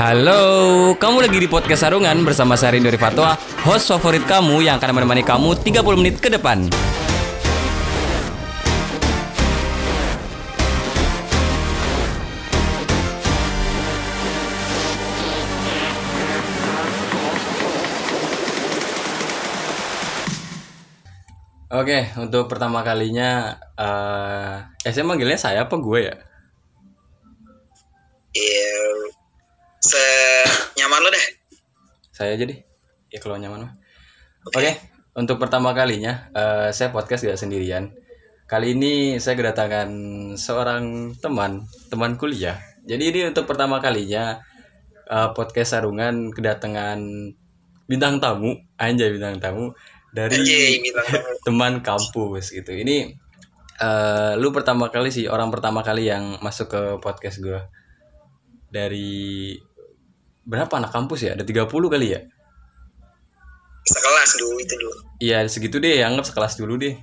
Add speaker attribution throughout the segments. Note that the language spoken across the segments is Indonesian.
Speaker 1: Halo, kamu lagi di podcast Sarungan bersama Sarin Dori Fatwa, host favorit kamu yang akan menemani kamu 30 menit ke depan. Oke, untuk pertama kalinya eh eh, saya manggilnya saya apa gue ya?
Speaker 2: Iya. Se nyaman lo deh.
Speaker 1: Saya jadi. Ya kalau nyaman mah. Oke, untuk pertama kalinya eh, saya podcast gak sendirian. Kali ini saya kedatangan seorang teman, teman kuliah. Jadi ini untuk pertama kalinya eh, podcast Sarungan kedatangan bintang tamu, anjay bintang tamu dari
Speaker 2: Anjay, bintang tamu.
Speaker 1: teman kampus gitu. Ini eh, lu pertama kali sih orang pertama kali yang masuk ke podcast gua dari berapa anak kampus ya? Ada 30 kali ya?
Speaker 2: Sekelas dulu itu dulu.
Speaker 1: Iya, segitu deh, anggap sekelas dulu deh.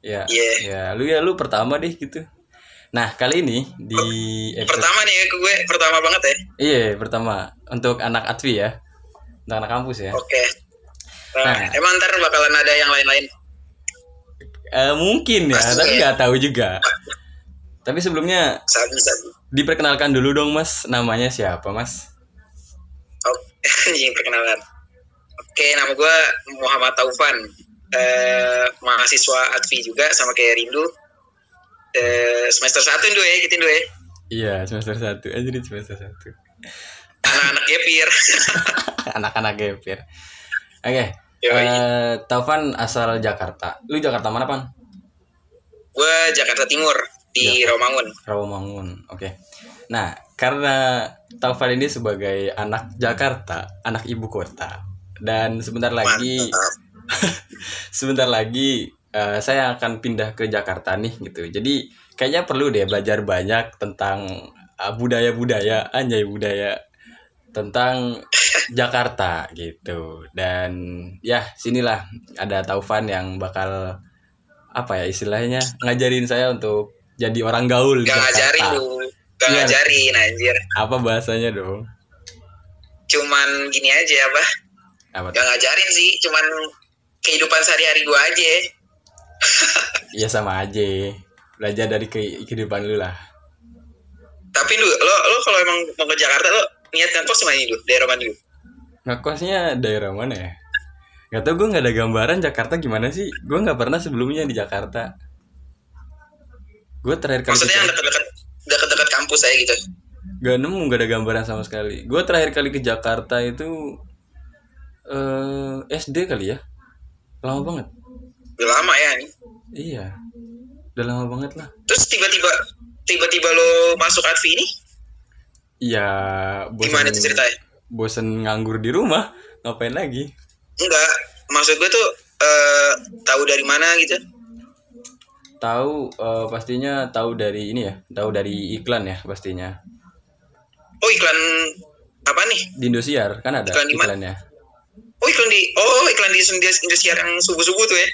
Speaker 1: Ya.
Speaker 2: Iya.
Speaker 1: Ya, lu ya lu pertama deh gitu. Nah, kali ini di episode
Speaker 2: Pertama nih ya, ke gue, pertama banget ya.
Speaker 1: Iya, pertama untuk anak Atvi ya. Untuk anak kampus ya.
Speaker 2: Oke. Nah,
Speaker 1: Nah.
Speaker 2: emang ntar bakalan ada yang lain-lain.
Speaker 1: Eh, mungkin ya,
Speaker 2: Pasti
Speaker 1: tapi
Speaker 2: ya.
Speaker 1: nggak tahu juga. Tapi sebelumnya
Speaker 2: Sabi sabi.
Speaker 1: diperkenalkan dulu dong, Mas. Namanya siapa, Mas?
Speaker 2: Oke, ini perkenalan. Oke, nama gue Muhammad Taufan. Eh, mahasiswa Advi juga sama kayak Rindu. Eh, semester 1 dulu ya, gitu dulu ya.
Speaker 1: Iya, semester 1. Anjir, semester 1.
Speaker 2: Anak-anak gepir.
Speaker 1: Anak-anak gepir. Oke.
Speaker 2: Yoi.
Speaker 1: Eh, Taufan asal Jakarta. Lu Jakarta mana, Pan?
Speaker 2: gue Jakarta Timur di Romangun.
Speaker 1: Rawamangun. Oke. Nah, karena Taufan ini sebagai anak Jakarta, anak ibu kota, dan sebentar lagi,
Speaker 2: Mantap.
Speaker 1: sebentar lagi eh, saya akan pindah ke Jakarta nih gitu. Jadi kayaknya perlu deh belajar banyak tentang eh, budaya-budaya, anjay budaya tentang Jakarta gitu. Dan ya sinilah ada Taufan yang bakal apa ya istilahnya ngajarin saya untuk jadi orang gaul di
Speaker 2: Gak
Speaker 1: Jakarta.
Speaker 2: ngajarin lu, gak
Speaker 1: Iya.
Speaker 2: ngajarin anjir.
Speaker 1: apa bahasanya dong
Speaker 2: Cuman gini aja bah,
Speaker 1: apa
Speaker 2: gak ngajarin sih, cuman kehidupan sehari-hari gue aja.
Speaker 1: ya sama aja belajar dari ke- kehidupan lu lah
Speaker 2: Tapi lu, lo, lo kalau emang mau ke Jakarta lo niat ngekos mana dulu, daerah mana dulu?
Speaker 1: ngekosnya daerah mana ya Gak tau gue gak ada gambaran Jakarta gimana sih Gue gak pernah sebelumnya di Jakarta Gue terakhir kali
Speaker 2: Maksudnya yang
Speaker 1: ke-
Speaker 2: dekat-dekat dekat-dekat kampus saya gitu.
Speaker 1: Gak nemu gak ada gambaran sama sekali Gue terakhir kali ke Jakarta itu eh SD kali ya Lama banget
Speaker 2: Udah lama ya nih.
Speaker 1: Iya Udah lama banget lah
Speaker 2: Terus tiba-tiba tiba-tiba lo masuk Advi ini,
Speaker 1: Iya bosen-
Speaker 2: gimana tuh ceritanya?
Speaker 1: Bosen nganggur di rumah Ngapain lagi
Speaker 2: Enggak, maksud gue tuh eh tahu dari mana gitu?
Speaker 1: tahu eh, pastinya tahu dari ini ya tahu dari iklan ya pastinya
Speaker 2: Oh iklan apa nih?
Speaker 1: di Indosiar kan ada
Speaker 2: Iklan di mana?
Speaker 1: iklannya
Speaker 2: Oh iklan di oh iklan di Indosiar Indosiar yang subuh subuh tuh ya.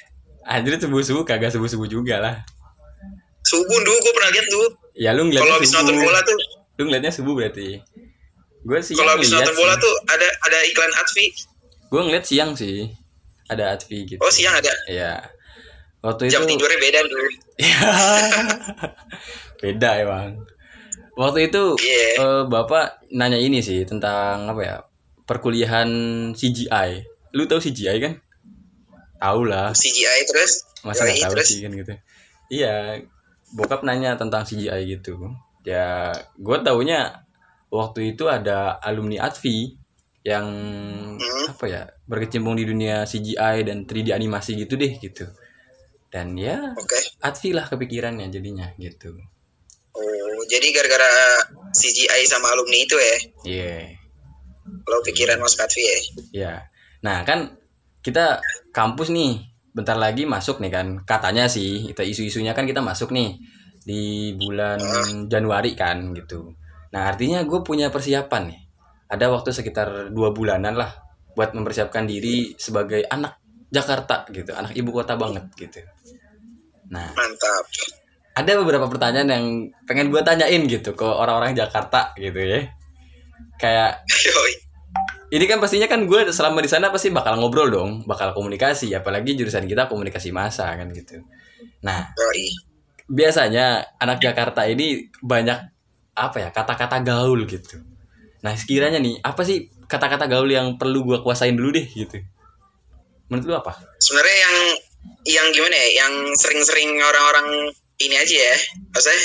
Speaker 1: anjir subuh subuh kagak subuh subuh juga lah
Speaker 2: Subuh dulu gue pernah lihat dulu.
Speaker 1: ya lu
Speaker 2: Kalau
Speaker 1: ngeliatnya
Speaker 2: habis
Speaker 1: subuh
Speaker 2: nonton bola tuh,
Speaker 1: lu ngeliatnya subuh berarti gue siang
Speaker 2: kalau habis
Speaker 1: ngeliat
Speaker 2: nonton bola
Speaker 1: sih.
Speaker 2: tuh ada ada iklan Advi.
Speaker 1: gue ngeliat siang sih ada Atvi gitu
Speaker 2: Oh siang ada.
Speaker 1: ya waktu
Speaker 2: Jam
Speaker 1: itu Iya.
Speaker 2: tidurnya beda dulu.
Speaker 1: beda emang waktu itu
Speaker 2: Iya.
Speaker 1: eh, bapak nanya ini sih tentang apa ya perkuliahan CGI lu tahu CGI kan tahu lah
Speaker 2: CGI terus.
Speaker 1: masa
Speaker 2: Yoi,
Speaker 1: nggak tahu
Speaker 2: terus.
Speaker 1: sih kan gitu iya bokap nanya tentang CGI gitu ya gue taunya waktu itu ada alumni Atvi yang
Speaker 2: Hmm.
Speaker 1: apa ya berkecimpung di dunia CGI dan 3D animasi gitu deh gitu dan ya
Speaker 2: Oke.
Speaker 1: Atvi lah kepikirannya jadinya gitu
Speaker 2: Oh jadi gara-gara CGI sama alumni itu ya.
Speaker 1: yeah
Speaker 2: Lo pikiran masuk Advi ya.
Speaker 1: Ya. Nah, kan kita kampus nih bentar lagi masuk nih kan. Katanya sih kita isu-isunya kan kita masuk nih di bulan Januari kan gitu. Nah, artinya gue punya persiapan nih. Ada waktu sekitar dua bulanan lah buat mempersiapkan diri sebagai anak Jakarta gitu, anak ibu kota banget gitu. Nah,
Speaker 2: Mantap.
Speaker 1: ada beberapa pertanyaan yang pengen gue tanyain gitu ke orang-orang Jakarta gitu ya. Kayak
Speaker 2: Yoi.
Speaker 1: ini kan pastinya kan gue selama di sana pasti bakal ngobrol dong, bakal komunikasi, apalagi jurusan kita komunikasi massa kan gitu. Nah,
Speaker 2: Yoi.
Speaker 1: biasanya anak Jakarta ini banyak apa ya kata-kata gaul gitu. Nah, sekiranya nih apa sih kata-kata gaul yang perlu gue kuasain dulu deh gitu? Menurut lu apa?
Speaker 2: Sebenarnya yang yang gimana ya? Yang sering-sering orang-orang ini aja ya. Maksudnya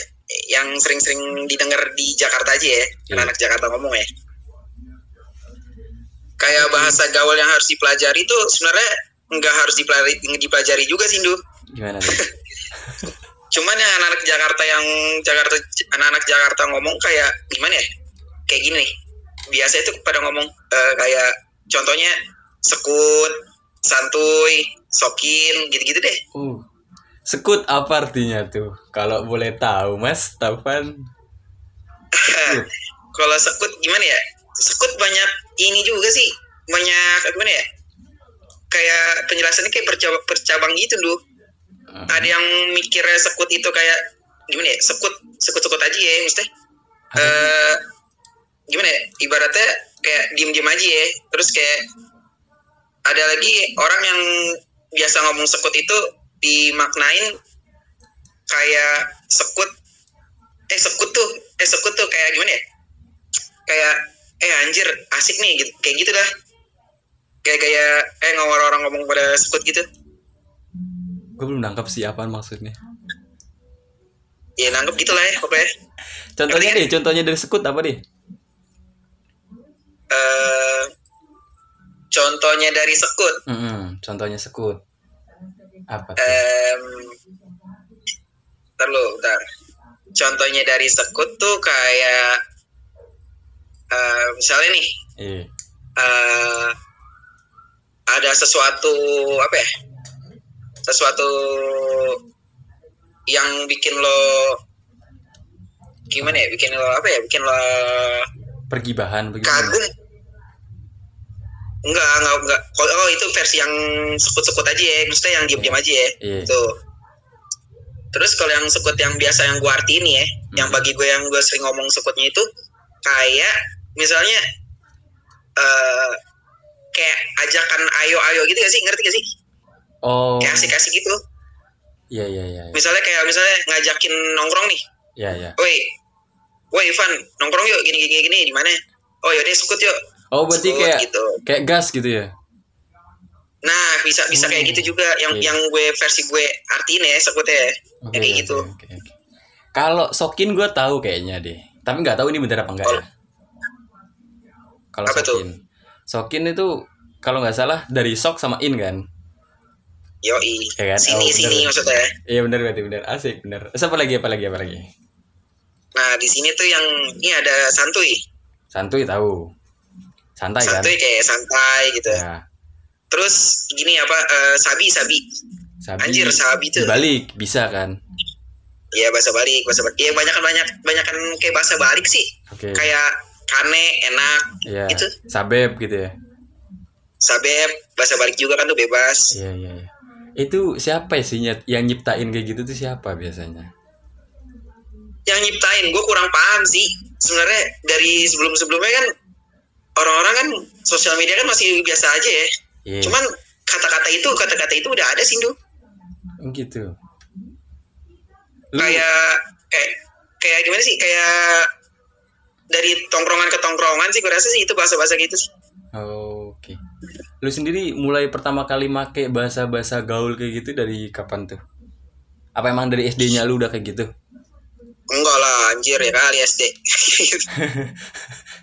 Speaker 2: yang sering-sering didengar di Jakarta aja ya. Anak-anak Jakarta ngomong ya. Kayak bahasa gaul yang harus dipelajari itu sebenarnya nggak harus dipelajari, dipelajari juga sih, Ndu.
Speaker 1: Gimana tuh?
Speaker 2: cuman yang anak-anak Jakarta yang Jakarta anak-anak Jakarta ngomong kayak gimana ya kayak gini nih biasa itu pada ngomong eh, kayak contohnya sekut santuy sokin gitu-gitu deh
Speaker 1: Uh, sekut apa artinya tuh? Kalau boleh tahu, kan? Mas Taufan.
Speaker 2: Eh, kalau sekut gimana ya sekut banyak ini juga sih banyak gimana ya kayak penjelasannya kayak bercabang, bercabang gitu dulu
Speaker 1: Uh,
Speaker 2: ada yang mikirnya sekut itu kayak gimana ya sekut sekut sekut aja ya maksudnya eh gimana ya ibaratnya kayak diem diem aja ya terus kayak ada lagi orang yang biasa ngomong sekut itu dimaknain kayak sekut eh sekut tuh eh sekut tuh kayak gimana ya kayak eh anjir asik nih gitu kayak gitu dah kayak kayak eh ngomong orang ngomong pada sekut gitu
Speaker 1: gue belum nangkap sih apaan maksudnya.
Speaker 2: ya nangkep gitu lah ya pokoknya
Speaker 1: Contohnya
Speaker 2: Ngerti
Speaker 1: deh, contohnya dari sekut apa deh?
Speaker 2: eh contohnya dari sekut
Speaker 1: Mm-mm, contohnya sekut. Apa tuh?
Speaker 2: Em, ntar lu, ntar. Contohnya dari sekut tuh kayak eh, misalnya nih
Speaker 1: Iya.
Speaker 2: eh, ada sesuatu apa ya? Sesuatu yang bikin lo gimana ya? Bikin lo apa ya? Bikin lo
Speaker 1: Pergibahan begitu.
Speaker 2: kagum. Enggak, enggak, enggak. Kalau oh, itu versi yang sekut-sekut aja ya, maksudnya yang diam-diam aja ya.
Speaker 1: Iya.
Speaker 2: Tuh. Terus kalau yang sekut yang biasa yang gue artiin ya,
Speaker 1: Hmm.
Speaker 2: yang bagi gue yang gue sering ngomong sekutnya itu kayak misalnya eh kayak ajakan ayo-ayo gitu gak sih? Ngerti gak sih?
Speaker 1: Oh.
Speaker 2: Kayak asik-asik gitu.
Speaker 1: Iya iya iya. iya.
Speaker 2: Misalnya kayak misalnya ngajakin nongkrong nih.
Speaker 1: Iya iya.
Speaker 2: Woi. Woi Ivan, nongkrong yuk gini gini gini di mana? Oh yaudah sekut yuk.
Speaker 1: Oh berarti
Speaker 2: Sekut
Speaker 1: kayak
Speaker 2: gitu.
Speaker 1: kayak gas gitu ya?
Speaker 2: Nah, bisa
Speaker 1: Oh.
Speaker 2: bisa kayak gitu juga yang
Speaker 1: Iya.
Speaker 2: yang gue versi gue artiin ya sekutnya.
Speaker 1: Oke.
Speaker 2: Kayak
Speaker 1: oke,
Speaker 2: gitu.
Speaker 1: Oh, ya. oke, oke. Kalau sokin gue tahu kayaknya deh. Tapi nggak tahu ini bener apa enggak ya. Kalau
Speaker 2: Apa tuh?
Speaker 1: sokin. Sokin itu kalau nggak salah dari sok sama in kan?
Speaker 2: Yoi.
Speaker 1: Iya kan? Oh,
Speaker 2: Sini
Speaker 1: bener.
Speaker 2: sini maksudnya.
Speaker 1: Iya bener berarti bener asik bener. Terus apa lagi apa lagi apa lagi?
Speaker 2: Nah, di sini tuh yang ini ada santuy.
Speaker 1: Santuy tahu. Santai kan?
Speaker 2: Santuy kayak santai gitu.
Speaker 1: Ya.
Speaker 2: Terus gini apa eh, sabi sabi.
Speaker 1: Sabi.
Speaker 2: Anjir sabi tuh.
Speaker 1: Balik bisa kan?
Speaker 2: Ya bahasa balik, bahasa balik. Ya banyak banyak banyakan kayak bahasa balik sih.
Speaker 1: Oke.
Speaker 2: Kayak kane, enak,
Speaker 1: Iya.
Speaker 2: gitu.
Speaker 1: Sabeb gitu ya.
Speaker 2: sabep, bahasa balik juga kan tuh bebas.
Speaker 1: Iya iya. iya. Itu siapa sih nyet- yang nyiptain kayak gitu tuh siapa biasanya?
Speaker 2: Yang nyiptain gue kurang paham sih. Sebenarnya dari sebelum-sebelumnya kan orang-orang kan sosial media kan masih biasa aja ya.
Speaker 1: Iya.
Speaker 2: Cuman kata-kata itu, kata-kata itu udah ada sih, Du.
Speaker 1: gitu. Lu-
Speaker 2: kayak kayak kayak gimana sih kayak dari tongkrongan ke tongkrongan sih gue rasa sih itu bahasa-bahasa gitu sih
Speaker 1: Oh, Oke. Lu sendiri mulai pertama kali make bahasa-bahasa gaul kayak gitu dari kapan tuh? Apa emang dari SD-nya lu udah kayak gitu?
Speaker 2: enggak lah anjir ya kali SD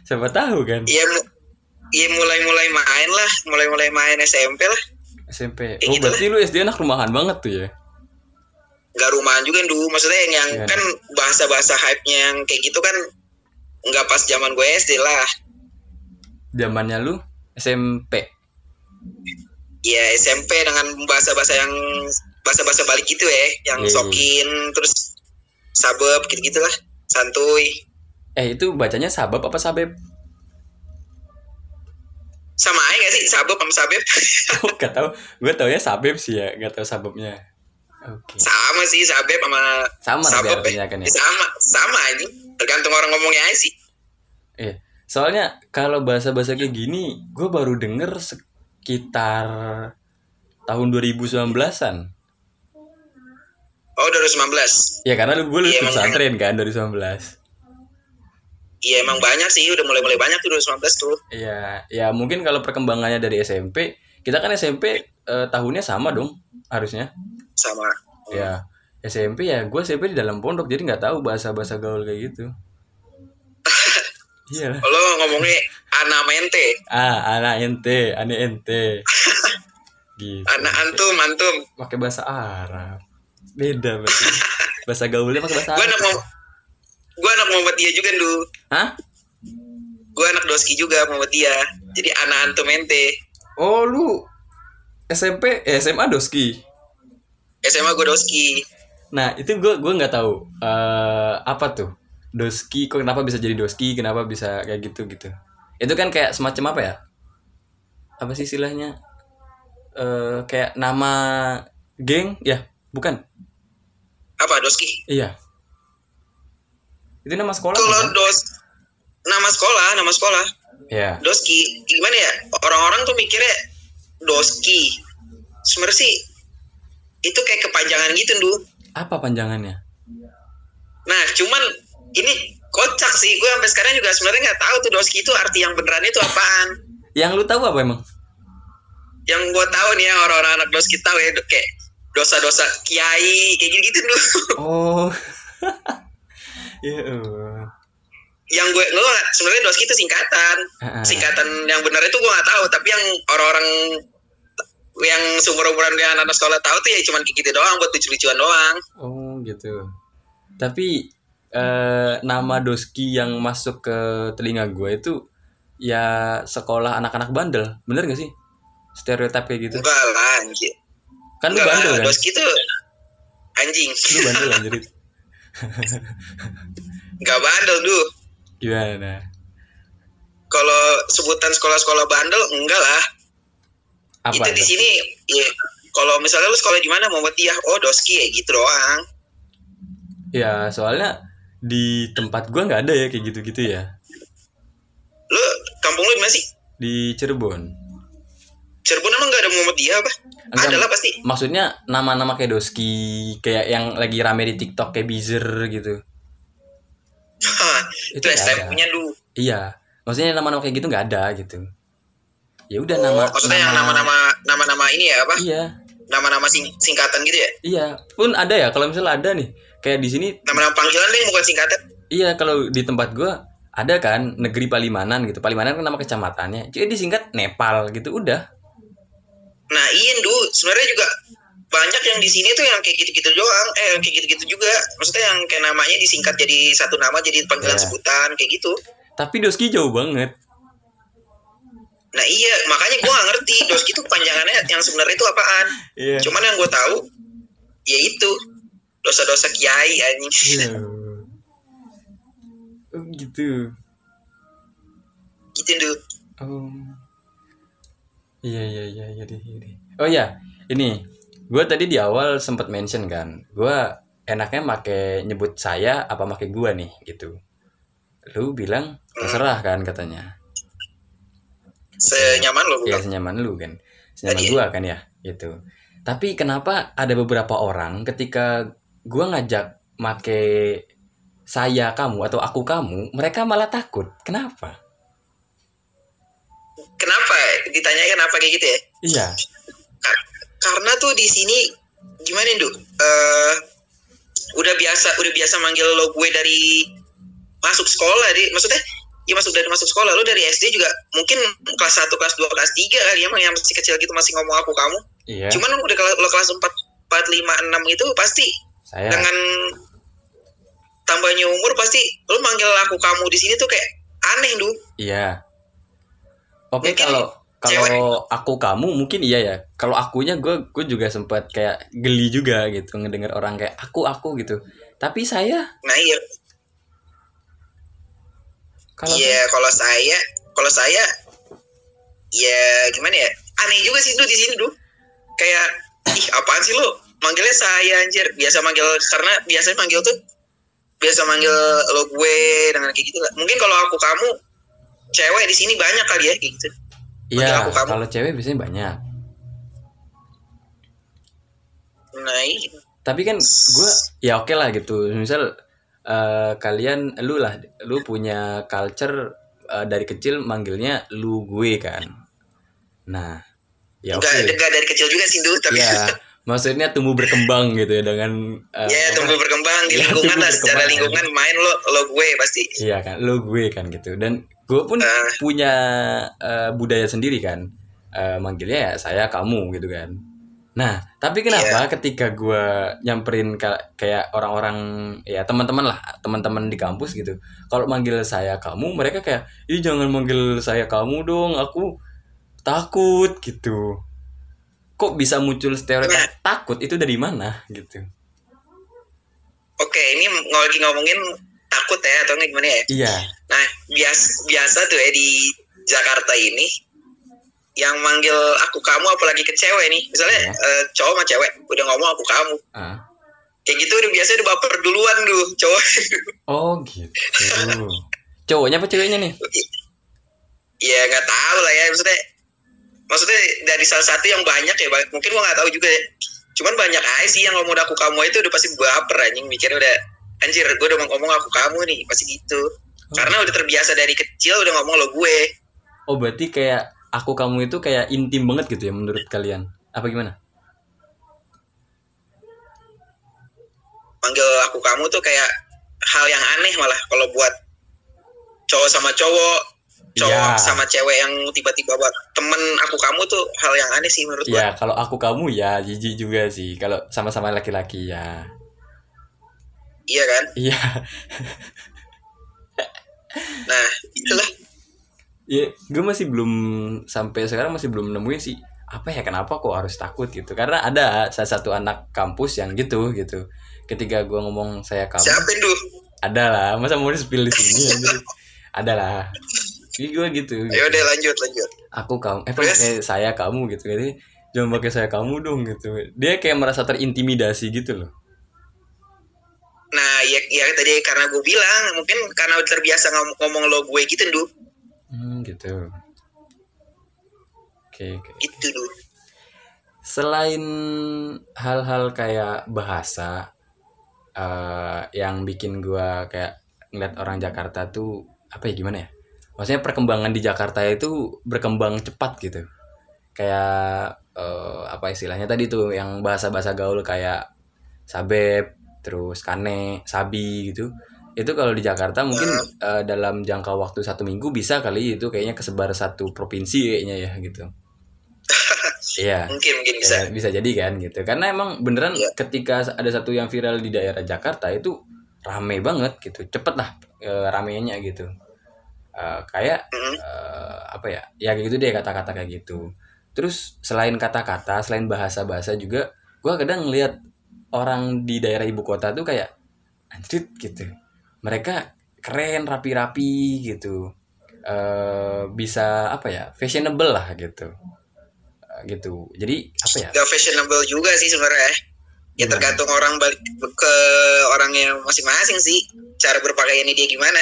Speaker 1: Siapa tahu kan?
Speaker 2: ya mu- ya mulai-mulai main lah mulai-mulai main SMP lah
Speaker 1: SMP.
Speaker 2: Kayak
Speaker 1: Oh,
Speaker 2: gitu
Speaker 1: berarti lu SD anak rumahan banget tuh ya?
Speaker 2: nggak rumahan juga dulu maksudnya yang, yang
Speaker 1: Iya.
Speaker 2: kan bahasa-bahasa hype-nya yang kayak gitu kan nggak pas zaman gue SD lah
Speaker 1: Zamannya lu SMP.
Speaker 2: ya SMP dengan bahasa-bahasa yang bahasa-bahasa balik gitu ya
Speaker 1: Iya,
Speaker 2: yang
Speaker 1: iya.
Speaker 2: sokin terus sabep gitu-gitu lah santuy
Speaker 1: Eh, itu bacanya sabab apa sabeb?
Speaker 2: sama aja gak sih sabab sama sabep
Speaker 1: Aku gak tahu. Gue taunya sabep sih ya, gak tahu sababnya. Oke.
Speaker 2: sama sih sabep sama
Speaker 1: Sama tapi
Speaker 2: sabab
Speaker 1: artinya kan ya.
Speaker 2: sama sama aja tergantung orang ngomongnya aja sih
Speaker 1: Iya. Soalnya kalau bahasa-bahasa kayak gini, gue baru denger sekitar tahun 2019-an.
Speaker 2: oh 2019
Speaker 1: Ya karena lu gue lulus
Speaker 2: Iya, emang.
Speaker 1: pesantren kan 2019.
Speaker 2: iya emang banyak sih udah mulai mulai banyak tuh 2019 tuh
Speaker 1: Iya, ya mungkin kalau perkembangannya dari SMP, kita kan SMP eh, tahunnya sama dong harusnya.
Speaker 2: sama
Speaker 1: Ya, SMP ya gue SMP di dalam pondok jadi nggak tahu bahasa-bahasa gaul kayak gitu. Iya Iyalah.
Speaker 2: lo ngomongnya anamente
Speaker 1: Ah, anak ente, ane ente. Gitu.
Speaker 2: anak antum antum
Speaker 1: pakai bahasa Arab. Beda berarti. bahasa gaulnya pakai bahasa Arab.
Speaker 2: gue anak mau gue anak Muhammadiyah juga dulu
Speaker 1: Hah?
Speaker 2: gue anak doski juga Muhammadiyah jadi anak antum ente
Speaker 1: Oh, lu SMP, eh, SMA doski.
Speaker 2: SMA gue doski
Speaker 1: Nah, itu gue gua nggak tahu eh apa tuh doski. Kok kenapa bisa jadi doski? Kenapa bisa kayak gitu gitu? Itu kan kayak semacam apa ya? Apa sih istilahnya? Eh kayak nama geng? Ya, bukan?
Speaker 2: apa doski
Speaker 1: Iya. Itu nama sekolah
Speaker 2: kalau
Speaker 1: kan?
Speaker 2: dos nama sekolah nama sekolah
Speaker 1: Ya.
Speaker 2: doski gimana ya orang-orang tuh mikirnya doski sebenarnya sih itu kayak kepanjangan gitu dulu
Speaker 1: Apa panjangannya?
Speaker 2: nah cuman ini kocak sih gue sampai sekarang juga sebenarnya nggak tahu tuh doski itu arti yang beneran itu apaan
Speaker 1: Yang lu tahu apa emang?
Speaker 2: yang gue tahu nih ya orang-orang anak doski tahu ya do- kayak dosa-dosa kiai kayak gitu gitu dulu
Speaker 1: Oh. ya Allah.
Speaker 2: yang gue gue nggak- sebenarnya doski itu singkatan
Speaker 1: Ah, ah.
Speaker 2: singkatan yang benar itu gue nggak tahu tapi yang orang-orang yang seumur umuran gue anak sekolah tahu tuh ya cuman kayak gitu doang buat lucu-lucuan doang
Speaker 1: Oh, gitu. Tapi eh, nama doski yang masuk ke telinga gue itu ya sekolah anak-anak bandel. Bener gak sih? Stereotip kayak gitu.
Speaker 2: enggak lah anjir
Speaker 1: Kan lu
Speaker 2: enggak
Speaker 1: bandel
Speaker 2: lah
Speaker 1: kan?
Speaker 2: doski tuh anjing
Speaker 1: Lu bandel anjir.
Speaker 2: enggak bandel duh
Speaker 1: Gimana?
Speaker 2: kalau sebutan sekolah-sekolah bandel enggak lah
Speaker 1: Apa?
Speaker 2: itu di
Speaker 1: itu?
Speaker 2: sini ya kalau misalnya lu sekolah di mana mau ya oh doski ya gitu doang
Speaker 1: Ya, soalnya di tempat gue nggak ada ya kayak gitu-gitu ya.
Speaker 2: lu kampung lu di mana sih
Speaker 1: Di Cirebon.
Speaker 2: Cirebon emang gak ada Muhammadiyah apa?
Speaker 1: Enggak.
Speaker 2: Ada lah pasti.
Speaker 1: Maksudnya nama-nama kayak doski, kayak yang lagi rame di TikTok kayak Bizer gitu.
Speaker 2: Hah, itu
Speaker 1: nggak ada.
Speaker 2: STM punya lu.
Speaker 1: Iya, maksudnya nama-nama kayak gitu nggak ada gitu. Ya udah
Speaker 2: Oh,
Speaker 1: nama,
Speaker 2: maksudnya yang nama-nama nama-nama ini ya apa?
Speaker 1: Iya,
Speaker 2: Nama-nama sing- singkatan gitu ya?
Speaker 1: iya. Pun ada ya kalau misalnya ada nih. Kayak di sini
Speaker 2: Nama-nama panggilan deh bukan singkatan.
Speaker 1: iya kalau di tempat gua ada kan negeri Palimanan gitu. Palimanan kan nama kecamatannya. Jadi disingkat Nepal gitu udah.
Speaker 2: Nah, iya Du, sebenarnya juga banyak yang di sini tuh yang kayak gitu-gitu doang, eh yang kayak gitu-gitu juga. Maksudnya yang kayak namanya disingkat jadi satu nama jadi panggilan
Speaker 1: Iya.
Speaker 2: sebutan kayak gitu.
Speaker 1: Tapi Doski jauh banget.
Speaker 2: Nah, iya, makanya gua gak ngerti doski itu panjangannya yang sebenarnya itu apaan.
Speaker 1: Iya.
Speaker 2: Cuman yang gua tahu ya itu dosa-dosa kiai anjing.
Speaker 1: Iya. Oh, gitu.
Speaker 2: gitu, Du.
Speaker 1: Oh. Iya iya iya iya deh, iya deh. Oh iya, ini gue tadi di awal sempat mention kan, gue enaknya make nyebut saya apa make gua nih gitu. Lu bilang terserah kan katanya.
Speaker 2: Senyaman lo
Speaker 1: Ya
Speaker 2: bukan?
Speaker 1: senyaman lu kan, senyaman
Speaker 2: Tadi ya.
Speaker 1: gua kan ya gitu. Tapi kenapa ada beberapa orang ketika gua ngajak make saya kamu atau aku kamu, mereka malah takut. Kenapa?
Speaker 2: Kenapa? Ditanyain kenapa kayak gitu ya?
Speaker 1: Iya.
Speaker 2: Karena tuh di sini gimana, Du? Eh udah biasa udah biasa manggil lo gue dari masuk sekolah, di maksudnya ya masuk dari masuk sekolah lo dari SD juga mungkin kelas 1, kelas 2, kelas 3 kali ya yang masih kecil gitu masih ngomong aku kamu.
Speaker 1: Iya.
Speaker 2: Cuman udah kalau lo kelas 4 4 5 6 itu pasti
Speaker 1: Saya.
Speaker 2: dengan tambahnya umur pasti lo manggil aku kamu di sini tuh kayak aneh, Du.
Speaker 1: Iya. Oke
Speaker 2: Mungkin
Speaker 1: kalau
Speaker 2: cewek-
Speaker 1: kalau aku kamu mungkin iya ya. Kalau akunya gue gue juga sempat kayak geli juga gitu ngedenger orang kayak aku aku gitu. Tapi saya
Speaker 2: Nah, iya
Speaker 1: kalau
Speaker 2: Iya, kalau saya, kalau saya ya gimana ya aneh juga sih lu di sini dulu kayak ih apaan sih lu manggilnya saya anjir biasa manggil karena biasanya manggil tuh biasa manggil lo gue dengan kayak gitu lah mungkin kalau aku kamu cewek di sini banyak kali ya kayak gitu Manggil
Speaker 1: Iya,
Speaker 2: aku kamu.
Speaker 1: kalau cewek biasanya banyak.
Speaker 2: nah iya.
Speaker 1: Tapi kan gue, ya oke lah gitu. Misal eh, kalian, lu lah, lu punya culture eh, dari kecil manggilnya lu gue kan. Nah, ya oke.
Speaker 2: Enggak, enggak dari kecil juga sih dulu tapi ya,
Speaker 1: Ya, maksudnya tumbuh berkembang gitu ya dengan. eh,
Speaker 2: Iya, tumbuh berkembang di
Speaker 1: Ya,
Speaker 2: lingkungan
Speaker 1: tumbuh
Speaker 2: lah secara
Speaker 1: berkembang.
Speaker 2: lingkungan main lo lo gue pasti
Speaker 1: Iya kan, lu gue kan gitu. Dan gue pun
Speaker 2: Eh.
Speaker 1: punya eh, budaya sendiri kan. Eh, manggilnya ya saya kamu gitu kan. Nah, tapi kenapa ketika gue nyamperin ka- kayak orang-orang ya teman-teman lah, teman-teman di kampus gitu. Kalau manggil saya kamu, mereka kayak, "Ih, jangan manggil saya kamu dong, aku takut." gitu. Kok bisa muncul stereotip takut itu dari mana gitu.
Speaker 2: oke ini ng- lagi ngomongin takut ya atau enggak gimana ya
Speaker 1: Iya,
Speaker 2: Nah, bias, biasa tuh ya di Jakarta ini yang manggil aku kamu apalagi ke cewek nih.
Speaker 1: Iya.
Speaker 2: Misalnya eh, cowok sama cewek udah ngomong aku kamu.
Speaker 1: ah.
Speaker 2: Kayak gitu udah biasa udah baper duluan dulu cowok.
Speaker 1: Oh gitu. Cowoknya apa ceweknya nih?
Speaker 2: ya nggak tahu lah ya maksudnya. Maksudnya dari salah satu yang banyak ya ba- mungkin gua nggak tahu juga ya. Cuman banyak aja sih yang ngomong aku kamu itu udah pasti baper anjing mikirnya udah anjir gue udah mau ngomong aku kamu nih pasti gitu. Karena udah terbiasa dari kecil udah ngomong lo gue.
Speaker 1: Oh berarti kayak aku kamu itu kayak intim banget gitu ya menurut kalian? Apa gimana?
Speaker 2: manggil aku kamu tuh kayak hal yang aneh malah kalau buat cowok sama cowok cowok
Speaker 1: Iya.
Speaker 2: sama cewek yang tiba-tiba buat temen aku kamu tuh hal yang aneh sih menurut gua
Speaker 1: Ya kalau aku kamu ya jijik juga sih. Kalau sama-sama laki-laki ya.
Speaker 2: iya kan
Speaker 1: Iya.
Speaker 2: nah itulah
Speaker 1: Ya, gue masih belum sampai sekarang masih belum nemuin sih apa ya kenapa kok harus takut gitu karena ada salah satu anak kampus yang gitu gitu ketika gua ngomong saya kamu
Speaker 2: siapa itu
Speaker 1: ada lah masa mau di spill di sini anjir? ada lah jadi gue gitu,
Speaker 2: ayo deh Ya lanjut lanjut
Speaker 1: aku kamu eh
Speaker 2: Terus?
Speaker 1: pakai saya kamu gitu jadi jangan pakai saya kamu dong gitu dia kayak merasa terintimidasi gitu loh
Speaker 2: nah ya, ya tadi karena gue bilang mungkin karena udah terbiasa ngom- ngomong lo gue gitu du
Speaker 1: hmm, gitu oke oke
Speaker 2: gitu du
Speaker 1: selain hal-hal kayak bahasa eh, yang bikin gua kayak ngeliat orang Jakarta tuh apa ya gimana ya maksudnya perkembangan di Jakarta itu berkembang cepat gitu kayak eh, apa istilahnya tadi tuh yang bahasa-bahasa gaul kayak sabep terus kane sabi gitu itu kalau di Jakarta mungkin eh, dalam jangka waktu satu minggu bisa kali itu kayaknya kesebar satu provinsi kayaknya ya gitu iya
Speaker 2: mungkin mungkin bisa
Speaker 1: bisa bisa jadi kan gitu karena emang beneran
Speaker 2: Iya.
Speaker 1: ketika ada satu yang viral di daerah Jakarta itu rame banget gitu cepet lah e, ramenya gitu E, kayak
Speaker 2: Mm-mm.
Speaker 1: e, apa ya ya kayak gitu deh kata-kata kayak gitu terus selain kata-kata selain bahasa-bahasa juga gua kadang ngelihat orang di daerah ibu kota tuh kayak anjrit gitu mereka keren rapi-rapi gitu Eh, bisa apa ya fashionable lah gitu Eh, gitu jadi apa ya
Speaker 2: gak fashionable juga sih sebenarnya ya
Speaker 1: Gimana?
Speaker 2: tergantung orang balik ke orang yang masing-masing sih cara berpakaiannya dia gimana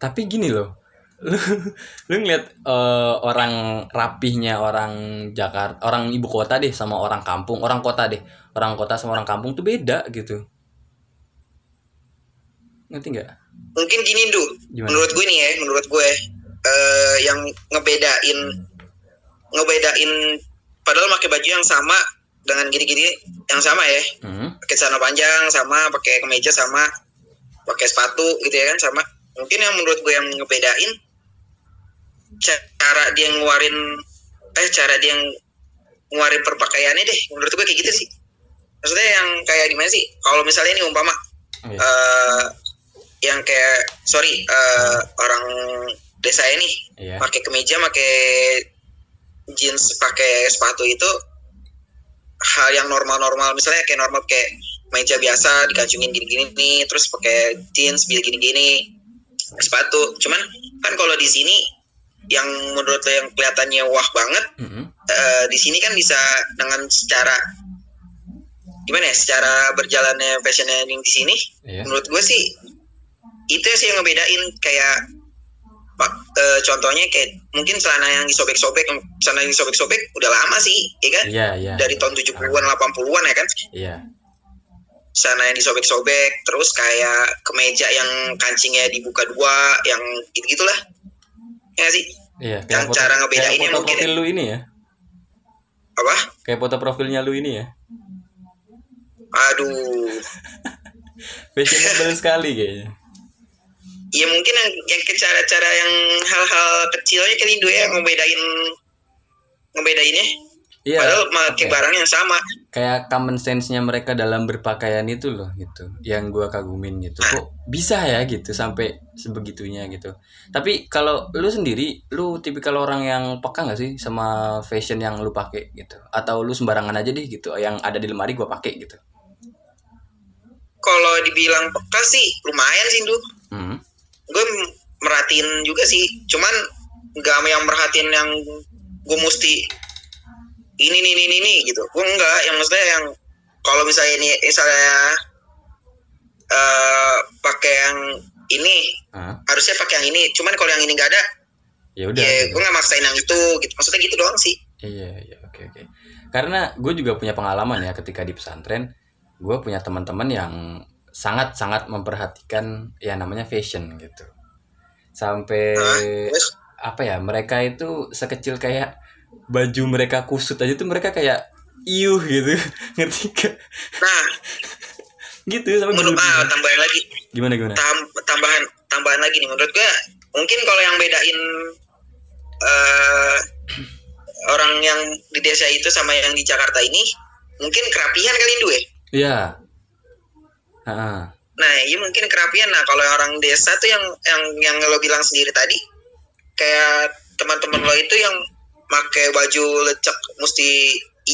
Speaker 1: tapi gini loh lu lu ngeliat eh, orang rapihnya orang Jakarta orang ibu kota deh sama orang kampung orang kota deh orang kota sama orang kampung tuh beda gitu ngerti nggak
Speaker 2: mungkin gini Du,
Speaker 1: Gimana?
Speaker 2: menurut gue nih ya, menurut gue eh, yang ngebedain ngebedain padahal pakai baju yang sama dengan gini-gini yang sama ya,
Speaker 1: Hmm,
Speaker 2: pakai celana panjang sama, pakai kemeja sama, pakai sepatu gitu ya kan sama. Mungkin yang menurut gue yang ngebedain ca- cara dia ngeluarin eh cara dia ngeluarin perpakaiannya deh, menurut gue kayak gitu sih. Maksudnya yang kayak gimana sih? Kalau misalnya ini umpama
Speaker 1: iya.
Speaker 2: eh yang kayak sorry eh, orang desa ini
Speaker 1: Iya.
Speaker 2: pakai kemeja pakai jeans pakai sepatu itu hal yang normal-normal misalnya kayak normal kayak meja biasa dikacungin gini-gini nih terus pakai jeans gini-gini sepatu cuman kan kalau di sini yang menurut lo yang kelihatannya wah banget
Speaker 1: Mm-mm.
Speaker 2: eh, di sini kan bisa dengan secara gimana ya secara berjalannya fashion yang di sini
Speaker 1: Iya.
Speaker 2: menurut gue sih itu sih yang ngebedain kayak pak eh, contohnya kayak mungkin celana yang disobek-sobek celana yang disobek-sobek udah lama sih ya kan
Speaker 1: Iya, iya.
Speaker 2: dari tahun 70-an 80-an ya kan
Speaker 1: Iya.
Speaker 2: celana yang disobek-sobek terus kayak kemeja yang kancingnya dibuka dua yang gitu gitulah ya nggak sih
Speaker 1: Iya,
Speaker 2: Yang
Speaker 1: foto-
Speaker 2: cara ngebedainnya
Speaker 1: kayak foto
Speaker 2: mungkin
Speaker 1: profil lu ini ya.
Speaker 2: apa
Speaker 1: Kayak foto profilnya lu ini ya.
Speaker 2: aduh
Speaker 1: Fashionable sekali kayaknya.
Speaker 2: ya mungkin yang, yang ke cara-cara yang hal-hal kecilnya kali Indo ya yang ngebedain ngebedainnya
Speaker 1: Iya.
Speaker 2: padahal
Speaker 1: Oke.
Speaker 2: pakai barang yang sama
Speaker 1: kayak common sense-nya mereka dalam berpakaian itu loh gitu yang gua kagumin gitu
Speaker 2: Nah.
Speaker 1: kok bisa ya gitu sampai sebegitunya gitu tapi kalau lu sendiri lu tipikal orang yang peka nggak sih sama fashion yang lu pakai gitu atau lu sembarangan aja deh gitu yang ada di lemari gua pakai gitu
Speaker 2: kalau dibilang peka sih lumayan sih Indo
Speaker 1: hmm.
Speaker 2: gue m- merhatiin juga sih cuman nggak yang merhatiin yang gue mesti ini ini ini ini gitu gue enggak yang maksudnya yang kalau misalnya ini misalnya eh pakai yang ini
Speaker 1: Ah,
Speaker 2: harusnya pakai yang ini cuman kalau yang ini nggak ada
Speaker 1: ya udah
Speaker 2: ya
Speaker 1: gitu.
Speaker 2: gue nggak maksain yang itu gitu maksudnya gitu doang sih
Speaker 1: Iya, iya, oke, oke. Karena gue juga punya pengalaman ya ketika di pesantren, gue punya teman-teman yang sangat-sangat memperhatikan ya namanya fashion gitu. Sampai
Speaker 2: terus
Speaker 1: apa ya, mereka itu sekecil kayak baju mereka kusut aja tuh mereka kayak iuh gitu, ngerti gak?
Speaker 2: nah
Speaker 1: Gitu sampai
Speaker 2: menurut ah,
Speaker 1: berlebihan.
Speaker 2: tambahan lagi
Speaker 1: gimana gimana?
Speaker 2: tam- tambahan tambahan lagi nih menurut gue mungkin kalau yang bedain eh orang yang di desa itu sama yang di Jakarta ini mungkin kerapihan kali Indu ya
Speaker 1: Iya. Heeh.
Speaker 2: nah iya mungkin kerapihan nah kalau yang orang desa tuh yang yang yang lo bilang sendiri tadi kayak teman-teman lo itu yang pakai baju lecek mesti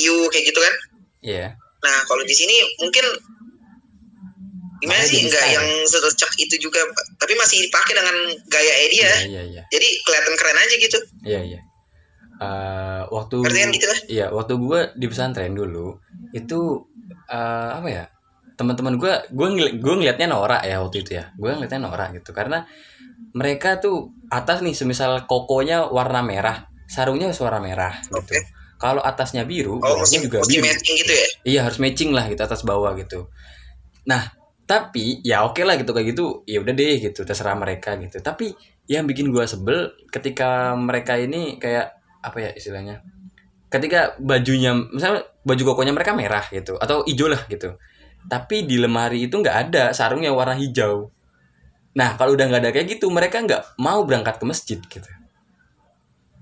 Speaker 2: iu kayak gitu kan
Speaker 1: Iya.
Speaker 2: Nah, kalau di sini mungkin gimana
Speaker 1: Malah
Speaker 2: sih
Speaker 1: jadi
Speaker 2: nggak
Speaker 1: style.
Speaker 2: yang selecak itu juga, tapi masih dipakai dengan gaya dia.
Speaker 1: Iya, iya, iya.
Speaker 2: Jadi kelihatan keren aja gitu.
Speaker 1: Iya iya. Eh, waktu
Speaker 2: Ngerti kan gitu lah?
Speaker 1: Iya, waktu gue di pesantren dulu itu eh, apa ya? Teman-teman gue gue ngel- gue ngelihatnya norak ya waktu itu ya. Gue ngelihatnya norak gitu karena mereka tuh atas nih semisal kokonya warna merah, sarungnya harus warna merah gitu.
Speaker 2: Oke.
Speaker 1: Kalau atasnya biru,
Speaker 2: Oh,
Speaker 1: bawahnya
Speaker 2: mesti,
Speaker 1: Iya, juga
Speaker 2: mesti
Speaker 1: biru.
Speaker 2: matching gitu ya.
Speaker 1: Iya harus matching lah gitu atas bawah gitu. Nah tapi ya oke lah gitu kayak gitu ya udah deh gitu terserah mereka gitu. Tapi yang bikin gua sebel ketika mereka ini kayak apa ya istilahnya? Ketika bajunya misalnya baju kokonya mereka merah gitu atau hijau lah gitu. Tapi di lemari itu nggak ada sarung yang warna hijau. Nah kalau udah nggak ada kayak gitu mereka nggak mau berangkat ke masjid gitu.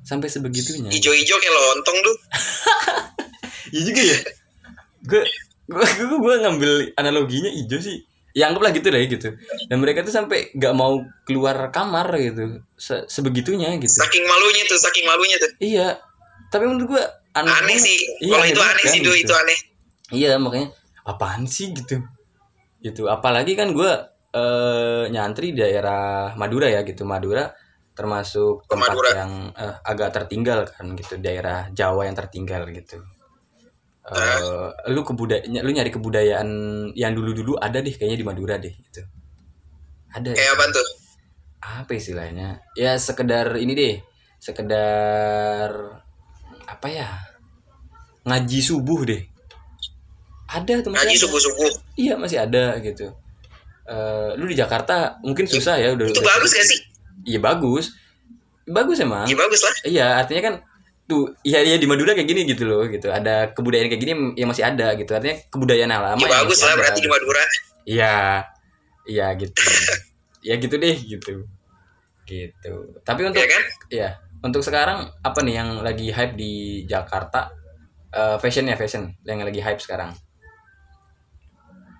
Speaker 1: Sampai sebegitunya.
Speaker 2: Ijo-ijo kayak lontong tuh.
Speaker 1: Iya juga ya. Gue gue gue gue ngambil analoginya hijau sih. Ya anggaplah gitu deh gitu. Dan mereka tuh sampai nggak mau keluar kamar gitu. Se- sebegitunya gitu.
Speaker 2: Saking malunya tuh, saking malunya tuh.
Speaker 1: Iya. Tapi menurut Iya, gue
Speaker 2: Aneh sih. kalau itu aneh
Speaker 1: kan
Speaker 2: sih,
Speaker 1: gitu.
Speaker 2: Du, itu aneh.
Speaker 1: Iya makanya apaan sih gitu. Itu apalagi kan gue eh, nyantri daerah Madura ya gitu. Madura termasuk
Speaker 2: Oh,
Speaker 1: tempat
Speaker 2: Madura.
Speaker 1: yang eh, agak tertinggal kan gitu, daerah Jawa yang tertinggal gitu. Eh, lu kebudaya lu nyari kebudayaan yang dulu-dulu ada deh kayaknya di Madura deh gitu. Ada. ya?
Speaker 2: Kayak apa tuh?
Speaker 1: apa istilahnya ya sekedar ini deh sekedar apa ya ngaji subuh deh ada teman
Speaker 2: Ngaji
Speaker 1: saya.
Speaker 2: subuh-subuh.
Speaker 1: iya masih ada gitu Eh, lu di Jakarta mungkin susah ya udah
Speaker 2: Itu bagus gak sih?
Speaker 1: iya bagus bagus emang
Speaker 2: Ya bagus lah.
Speaker 1: Iya, artinya kan tuh ya ya di Madura kayak gini gitu loh gitu. Ada kebudayaan kayak gini yang masih ada gitu. Artinya kebudayaan lama.
Speaker 2: Ya
Speaker 1: yang masih
Speaker 2: bagus
Speaker 1: ada.
Speaker 2: lah
Speaker 1: gitu.
Speaker 2: berarti di Madura.
Speaker 1: Iya. Iya gitu. ya gitu deh gitu. Gitu. Tapi untuk
Speaker 2: Ya kan?
Speaker 1: ya, untuk sekarang apa nih yang lagi hype di Jakarta? Eh, fashion ya fashion yang lagi hype sekarang.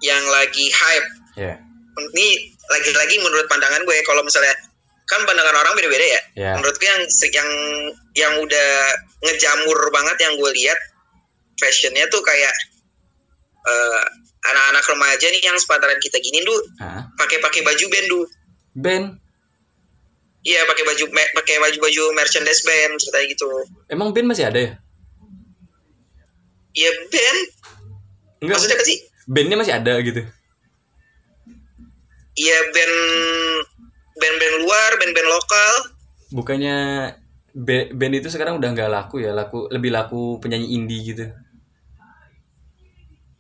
Speaker 2: Yang lagi hype.
Speaker 1: Ya.
Speaker 2: Ini lagi-lagi menurut pandangan gue kalau misalnya kan pandangan orang beda-beda ya.
Speaker 1: Ya.
Speaker 2: menurut gue yang yang yang udah ngejamur banget yang gue lihat fashionnya tuh kayak eh, anak-anak remaja nih yang sepantaran kita gini dulu
Speaker 1: Hah?
Speaker 2: pakai-pakai baju band dulu
Speaker 1: Ben.
Speaker 2: Iya pakai baju me- pakai baju baju merchandise band ceritanya gitu.
Speaker 1: Emang band masih ada ya?
Speaker 2: Iya band.
Speaker 1: Enggak.
Speaker 2: Maksudnya apa sih?
Speaker 1: Bandnya masih ada gitu.
Speaker 2: Iya band band-band luar, band-band lokal.
Speaker 1: Bukannya be- band itu sekarang udah nggak laku ya, laku lebih laku penyanyi indie gitu.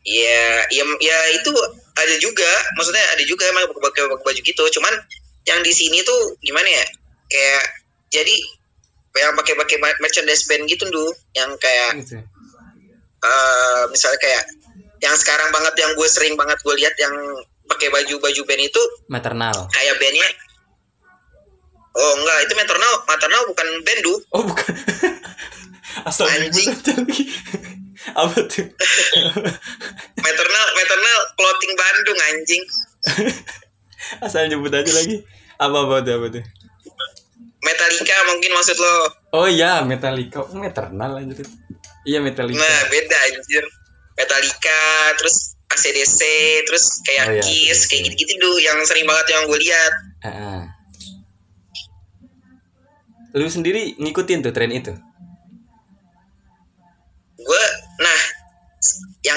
Speaker 2: Iya, ya, ya itu ada juga. Maksudnya ada juga emang pakai pakai baju gitu. Cuman yang di sini tuh gimana ya? Kayak jadi yang pakai pakai merchandise band gitu dulu, yang kayak
Speaker 1: Gitu.
Speaker 2: eh, misalnya kayak yang sekarang banget yang gue sering banget gue lihat yang pakai baju baju band itu
Speaker 1: Maternal.
Speaker 2: kayak bandnya oh enggak itu maternal maternal bukan band du
Speaker 1: Oh bukan. Astagfirullah. Apa tuh?
Speaker 2: maternal maternal clothing Bandung anjing
Speaker 1: Asal nyebut aja lagi. Apa apa tuh apa tuh?
Speaker 2: Metallica mungkin maksud lo
Speaker 1: Oh iya, Metallica. Oh, maternal aja tuh. Iya Metallica.
Speaker 2: nah beda anjir Metallica terus ACDC terus kayak
Speaker 1: Oh, iya,
Speaker 2: Kiss
Speaker 1: ACDC.
Speaker 2: kayak gitu gitu du yang sering banget yang gue lihat
Speaker 1: Heeh. Lu sendiri ngikutin tuh tren itu?
Speaker 2: gue nah yang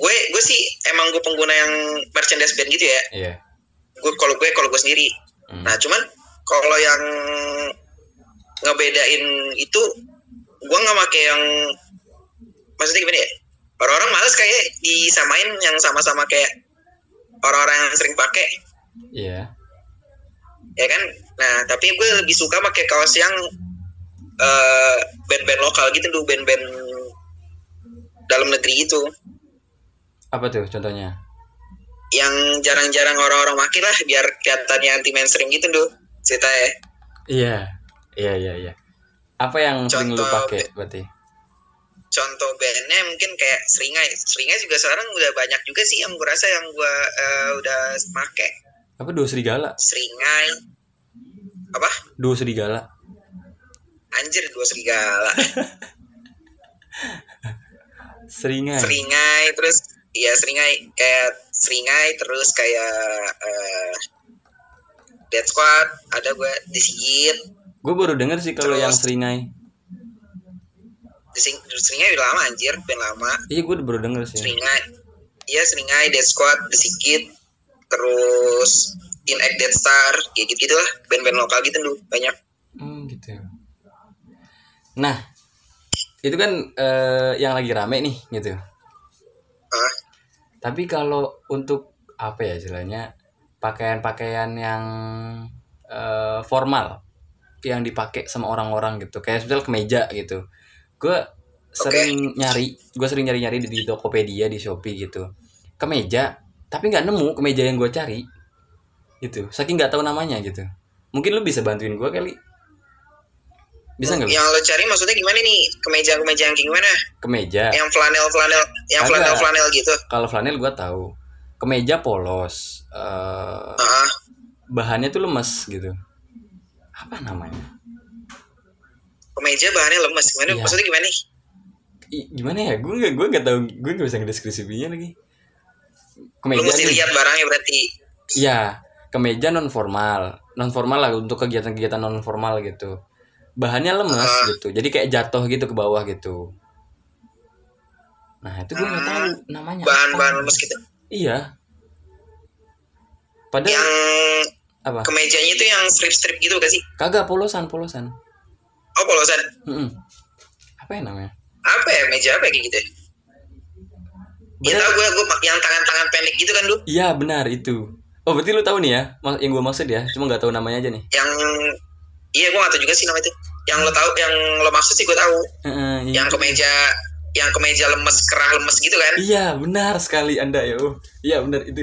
Speaker 2: gue gue sih emang gue pengguna yang merchandise band gitu ya
Speaker 1: Iya.
Speaker 2: gue kalau gue kalau gue sendiri
Speaker 1: Hmm.
Speaker 2: nah cuman kalau yang ngebedain itu gue nggak make yang maksudnya gimana ya orang-orang males kayak disamain yang sama-sama kayak orang-orang yang sering pakai
Speaker 1: Iya.
Speaker 2: ya kan nah tapi gue lebih suka pakai kaos yang eh, band-band lokal gitu dulu band-band dalam negeri itu
Speaker 1: Apa tuh contohnya?
Speaker 2: yang jarang-jarang orang-orang pakai lah biar kelihatannya anti mainstream gitu dulu cerita ya
Speaker 1: Iya. Iya iya iya. Apa yang sering lu
Speaker 2: Contoh-
Speaker 1: pakai berarti?
Speaker 2: contoh bandnya mungkin kayak seringai seringai juga sekarang udah banyak juga sih yang gue rasa yang gue eh, udah make
Speaker 1: Apa dua serigala?
Speaker 2: seringai apa
Speaker 1: Dua serigala.
Speaker 2: anjir dua serigala
Speaker 1: Seringai.
Speaker 2: seringai terus iya seringai kayak seringai terus kayak eh dead squad ada gue disigit
Speaker 1: Gue baru denger sih kalau
Speaker 2: Terus-
Speaker 1: yang seringai.
Speaker 2: Dising- seringai udah lama anjir band lama
Speaker 1: Iya gue baru denger sih.
Speaker 2: seringai iya seringai dead squad disigit terus in Act dead star kayak gitu gitulah band-band lokal gitu dulu banyak
Speaker 1: Hmm gitu. Nah, itu kan eh, yang lagi rame nih gitu.
Speaker 2: ah
Speaker 1: Tapi kalau untuk apa ya istilahnya pakaian-pakaian yang eh, formal yang dipakai sama orang-orang gitu. Kayak misal kemeja gitu. Gue sering nyari, gue sering nyari-nyari di, di Tokopedia, di Shopee gitu. Kemeja, tapi nggak nemu kemeja yang gue cari. Gitu. Saking nggak tahu namanya gitu. Mungkin lu bisa bantuin gue kali. Bisa nggak? lu?
Speaker 2: yang lo cari maksudnya gimana nih kemeja-kemeja yang kayak gimana
Speaker 1: Kemeja.
Speaker 2: yang flanel flanel yang
Speaker 1: Kagak.
Speaker 2: flanel flanel gitu
Speaker 1: Kalau flanel gue tahu. Kemeja polos. eh
Speaker 2: ah
Speaker 1: bahannya tuh lemes gitu apa namanya
Speaker 2: kemeja bahannya lemes gimana
Speaker 1: Iya.
Speaker 2: maksudnya gimana nih
Speaker 1: I- gimana ya gue nggak gue nggak tahu gue nggak bisa ngedeskripsinya lagi
Speaker 2: lu
Speaker 1: kemeja
Speaker 2: mesti
Speaker 1: nih.
Speaker 2: lihat barangnya berarti
Speaker 1: Iya, kemeja non formal non formal lah untuk kegiatan-kegiatan non formal gitu bahannya lemes
Speaker 2: Ah.
Speaker 1: gitu jadi kayak jatuh gitu ke bawah gitu nah itu gue nggak
Speaker 2: Hmm,
Speaker 1: tahu namanya apa.
Speaker 2: bahan-bahan lemes gitu
Speaker 1: iya padahal
Speaker 2: yang
Speaker 1: apa
Speaker 2: kemejanya itu yang strip-strip gitu gak sih
Speaker 1: kagak polosan polosan
Speaker 2: oh polosan
Speaker 1: Mm-mm. apa ya namanya
Speaker 2: apa ya meja apa ya kayak gitu ya Ya
Speaker 1: Bener-
Speaker 2: tau gue, gue yang tangan-tangan pendek gitu kan lu
Speaker 1: Iya benar itu. Oh berarti lu tahu nih ya ma- yang gue maksud ya, cuma nggak tahu namanya aja nih.
Speaker 2: Yang Iya gue gak tau juga sih nama itu Yang lo tahu, yang lo maksud sih gue tahu
Speaker 1: Heeh, iya.
Speaker 2: Yang kemeja Yang kemeja lemes, kerah lemes gitu kan
Speaker 1: Iya benar sekali anda ya. Oh, iya benar itu.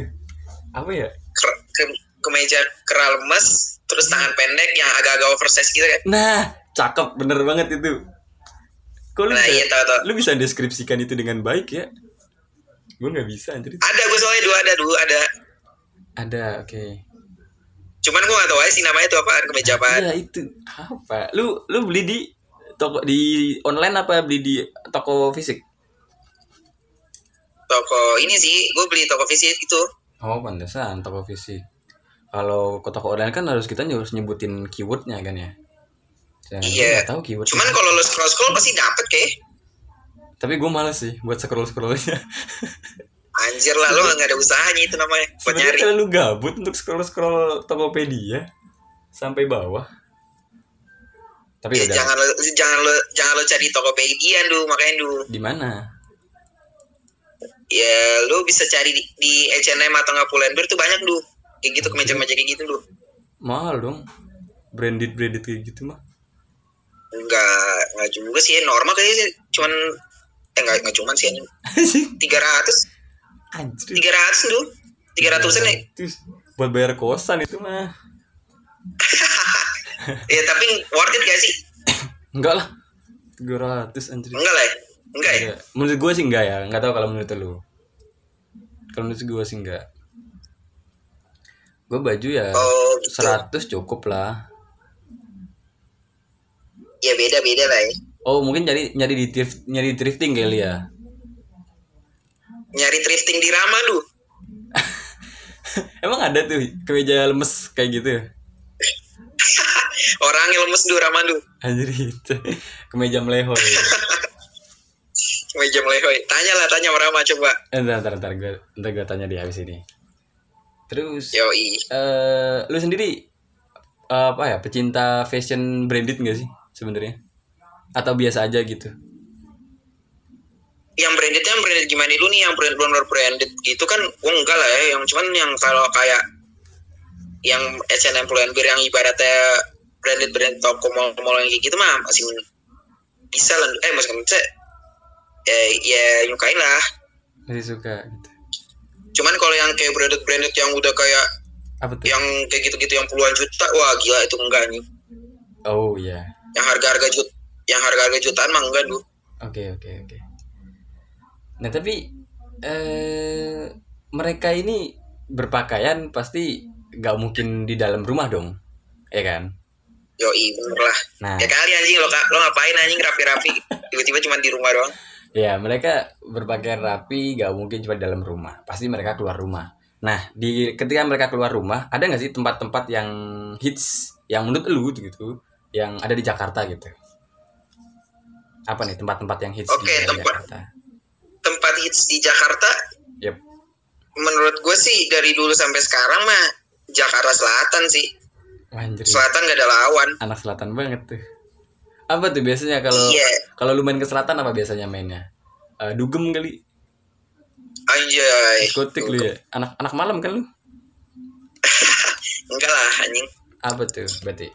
Speaker 1: Apa ya?
Speaker 2: Ker- ke- Kemeja kerah lemes Terus tangan pendek yang agak-agak oversize gitu kan
Speaker 1: Nah cakep bener banget itu. Kok lu
Speaker 2: Nah
Speaker 1: bisa,
Speaker 2: iya tau tau
Speaker 1: lu bisa deskripsikan itu dengan baik ya? Gue nggak bisa anjir.
Speaker 2: Ada gue soalnya dua ada dulu ada
Speaker 1: Ada oke.
Speaker 2: Cuman gue gak tau aja sih namanya itu apaan Kemeja apaan
Speaker 1: Iya itu apa? Lu lu beli di toko di online apa beli di toko fisik?
Speaker 2: Toko ini sih Gue beli toko visit gitu. itu
Speaker 1: Oh pantesan toko fisik. kalau ke toko online kan harus kita harus nyebutin keywordnya kan ya Sedangkan gua
Speaker 2: Iya.
Speaker 1: nggak tahu keyword
Speaker 2: Cuman kalau lo scroll scroll pasti dapet kayak
Speaker 1: tapi gue males sih buat scroll scrollnya
Speaker 2: anjir lah lo nggak ada usahanya itu
Speaker 1: Iya.
Speaker 2: namanya buat
Speaker 1: sebenarnya kan
Speaker 2: nyari.
Speaker 1: terlalu gabut untuk scroll scroll tokopedia sampai bawah tapi
Speaker 2: Ya,
Speaker 1: udah
Speaker 2: jangan lo jangan lo jangan lo cari Tokopedia du makanya du
Speaker 1: di mana
Speaker 2: ya lo bisa cari di, di H&M atau nggak Pull&Bear tuh banyak du kayak gitu kemeja-kemeja kayak gitu du
Speaker 1: mahal dong branded branded kayak gitu mah
Speaker 2: nggak nggak juga sih normal kayaknya sih. cuman eh nggak nggak cuman sih
Speaker 1: anjing
Speaker 2: tiga ratus
Speaker 1: anjir
Speaker 2: tiga ratus du tiga ratusan ya
Speaker 1: 300. buat bayar kosan itu mah
Speaker 2: ya tapi worth it gak sih
Speaker 1: enggak lah 300 anjir
Speaker 2: enggak lah ya? enggak ya
Speaker 1: Iya. Menurut gue sih enggak ya, enggak tahu kalau menurut lu. Kalau menurut gue sih enggak. Gue baju ya
Speaker 2: oh gitu
Speaker 1: 100 cukup lah.
Speaker 2: ya beda beda lah ya
Speaker 1: Oh, mungkin nyari nyari di thrift, nyari di thrifting kali ya.
Speaker 2: nyari thrifting di Rama du
Speaker 1: Emang ada tuh kemeja lemes kayak gitu ya?
Speaker 2: orang yang lemes du Rama du
Speaker 1: Anjir itu. Kemeja ya. melehoy.
Speaker 2: meja melehoy tanya lah tanya sama Rama coba
Speaker 1: Eh, Ntar ntar ntar gue ntar gue tanya di habis ini. Terus eh
Speaker 2: yoi
Speaker 1: lu sendiri eh, apa ya pecinta fashion branded enggak sih sebenarnya? Atau biasa aja gitu?
Speaker 2: yang brandednya yang branded gimana dulu nih yang brand benar branded gitu kan gua enggak lah ya yang cuman yang kalau kayak yang H&M Pull&Bear yang ibaratnya branded brand toko mall-mall yang kayak gitu mah masih bisa lah eh maksudnya maksudnya, eh, ya nyukain lah
Speaker 1: Masih suka gitu.
Speaker 2: cuman kalau yang kayak branded branded yang udah kayak
Speaker 1: Apa tuh?
Speaker 2: yang kayak gitu-gitu yang puluhan juta wah gila itu enggak nih
Speaker 1: Oh iya.
Speaker 2: yang harga-harga jut yang harga-harga jutaan mah enggak dulu
Speaker 1: Oke oke oke. Nah tapi eh, mereka ini berpakaian pasti nggak mungkin di dalam rumah dong, ya kan?
Speaker 2: yoi bener lah
Speaker 1: Nah
Speaker 2: ya kali anjing lo lo ngapain anjing rapi-rapi tiba-tiba cuma di rumah doang
Speaker 1: ya mereka berpakaian rapi nggak mungkin cuma di dalam rumah, pasti mereka keluar rumah. Nah di ketika mereka keluar rumah ada nggak sih tempat-tempat yang hits yang menurut lu gitu yang ada di Jakarta gitu? Apa nih tempat-tempat yang hits
Speaker 2: Oke,
Speaker 1: di
Speaker 2: tempat-
Speaker 1: Jakarta?
Speaker 2: tempat hits di Jakarta
Speaker 1: Yep.
Speaker 2: menurut gue sih dari dulu sampai sekarang mah Jakarta Selatan sih
Speaker 1: Wah, anjir.
Speaker 2: Selatan gak ada lawan
Speaker 1: anak selatan banget tuh apa tuh biasanya kalau
Speaker 2: iya
Speaker 1: kalau lu main ke selatan apa biasanya mainnya Eh, dugem kali
Speaker 2: anjay
Speaker 1: diskotik lu ya anak anak malam kan lu
Speaker 2: enggak lah anjing
Speaker 1: apa tuh berarti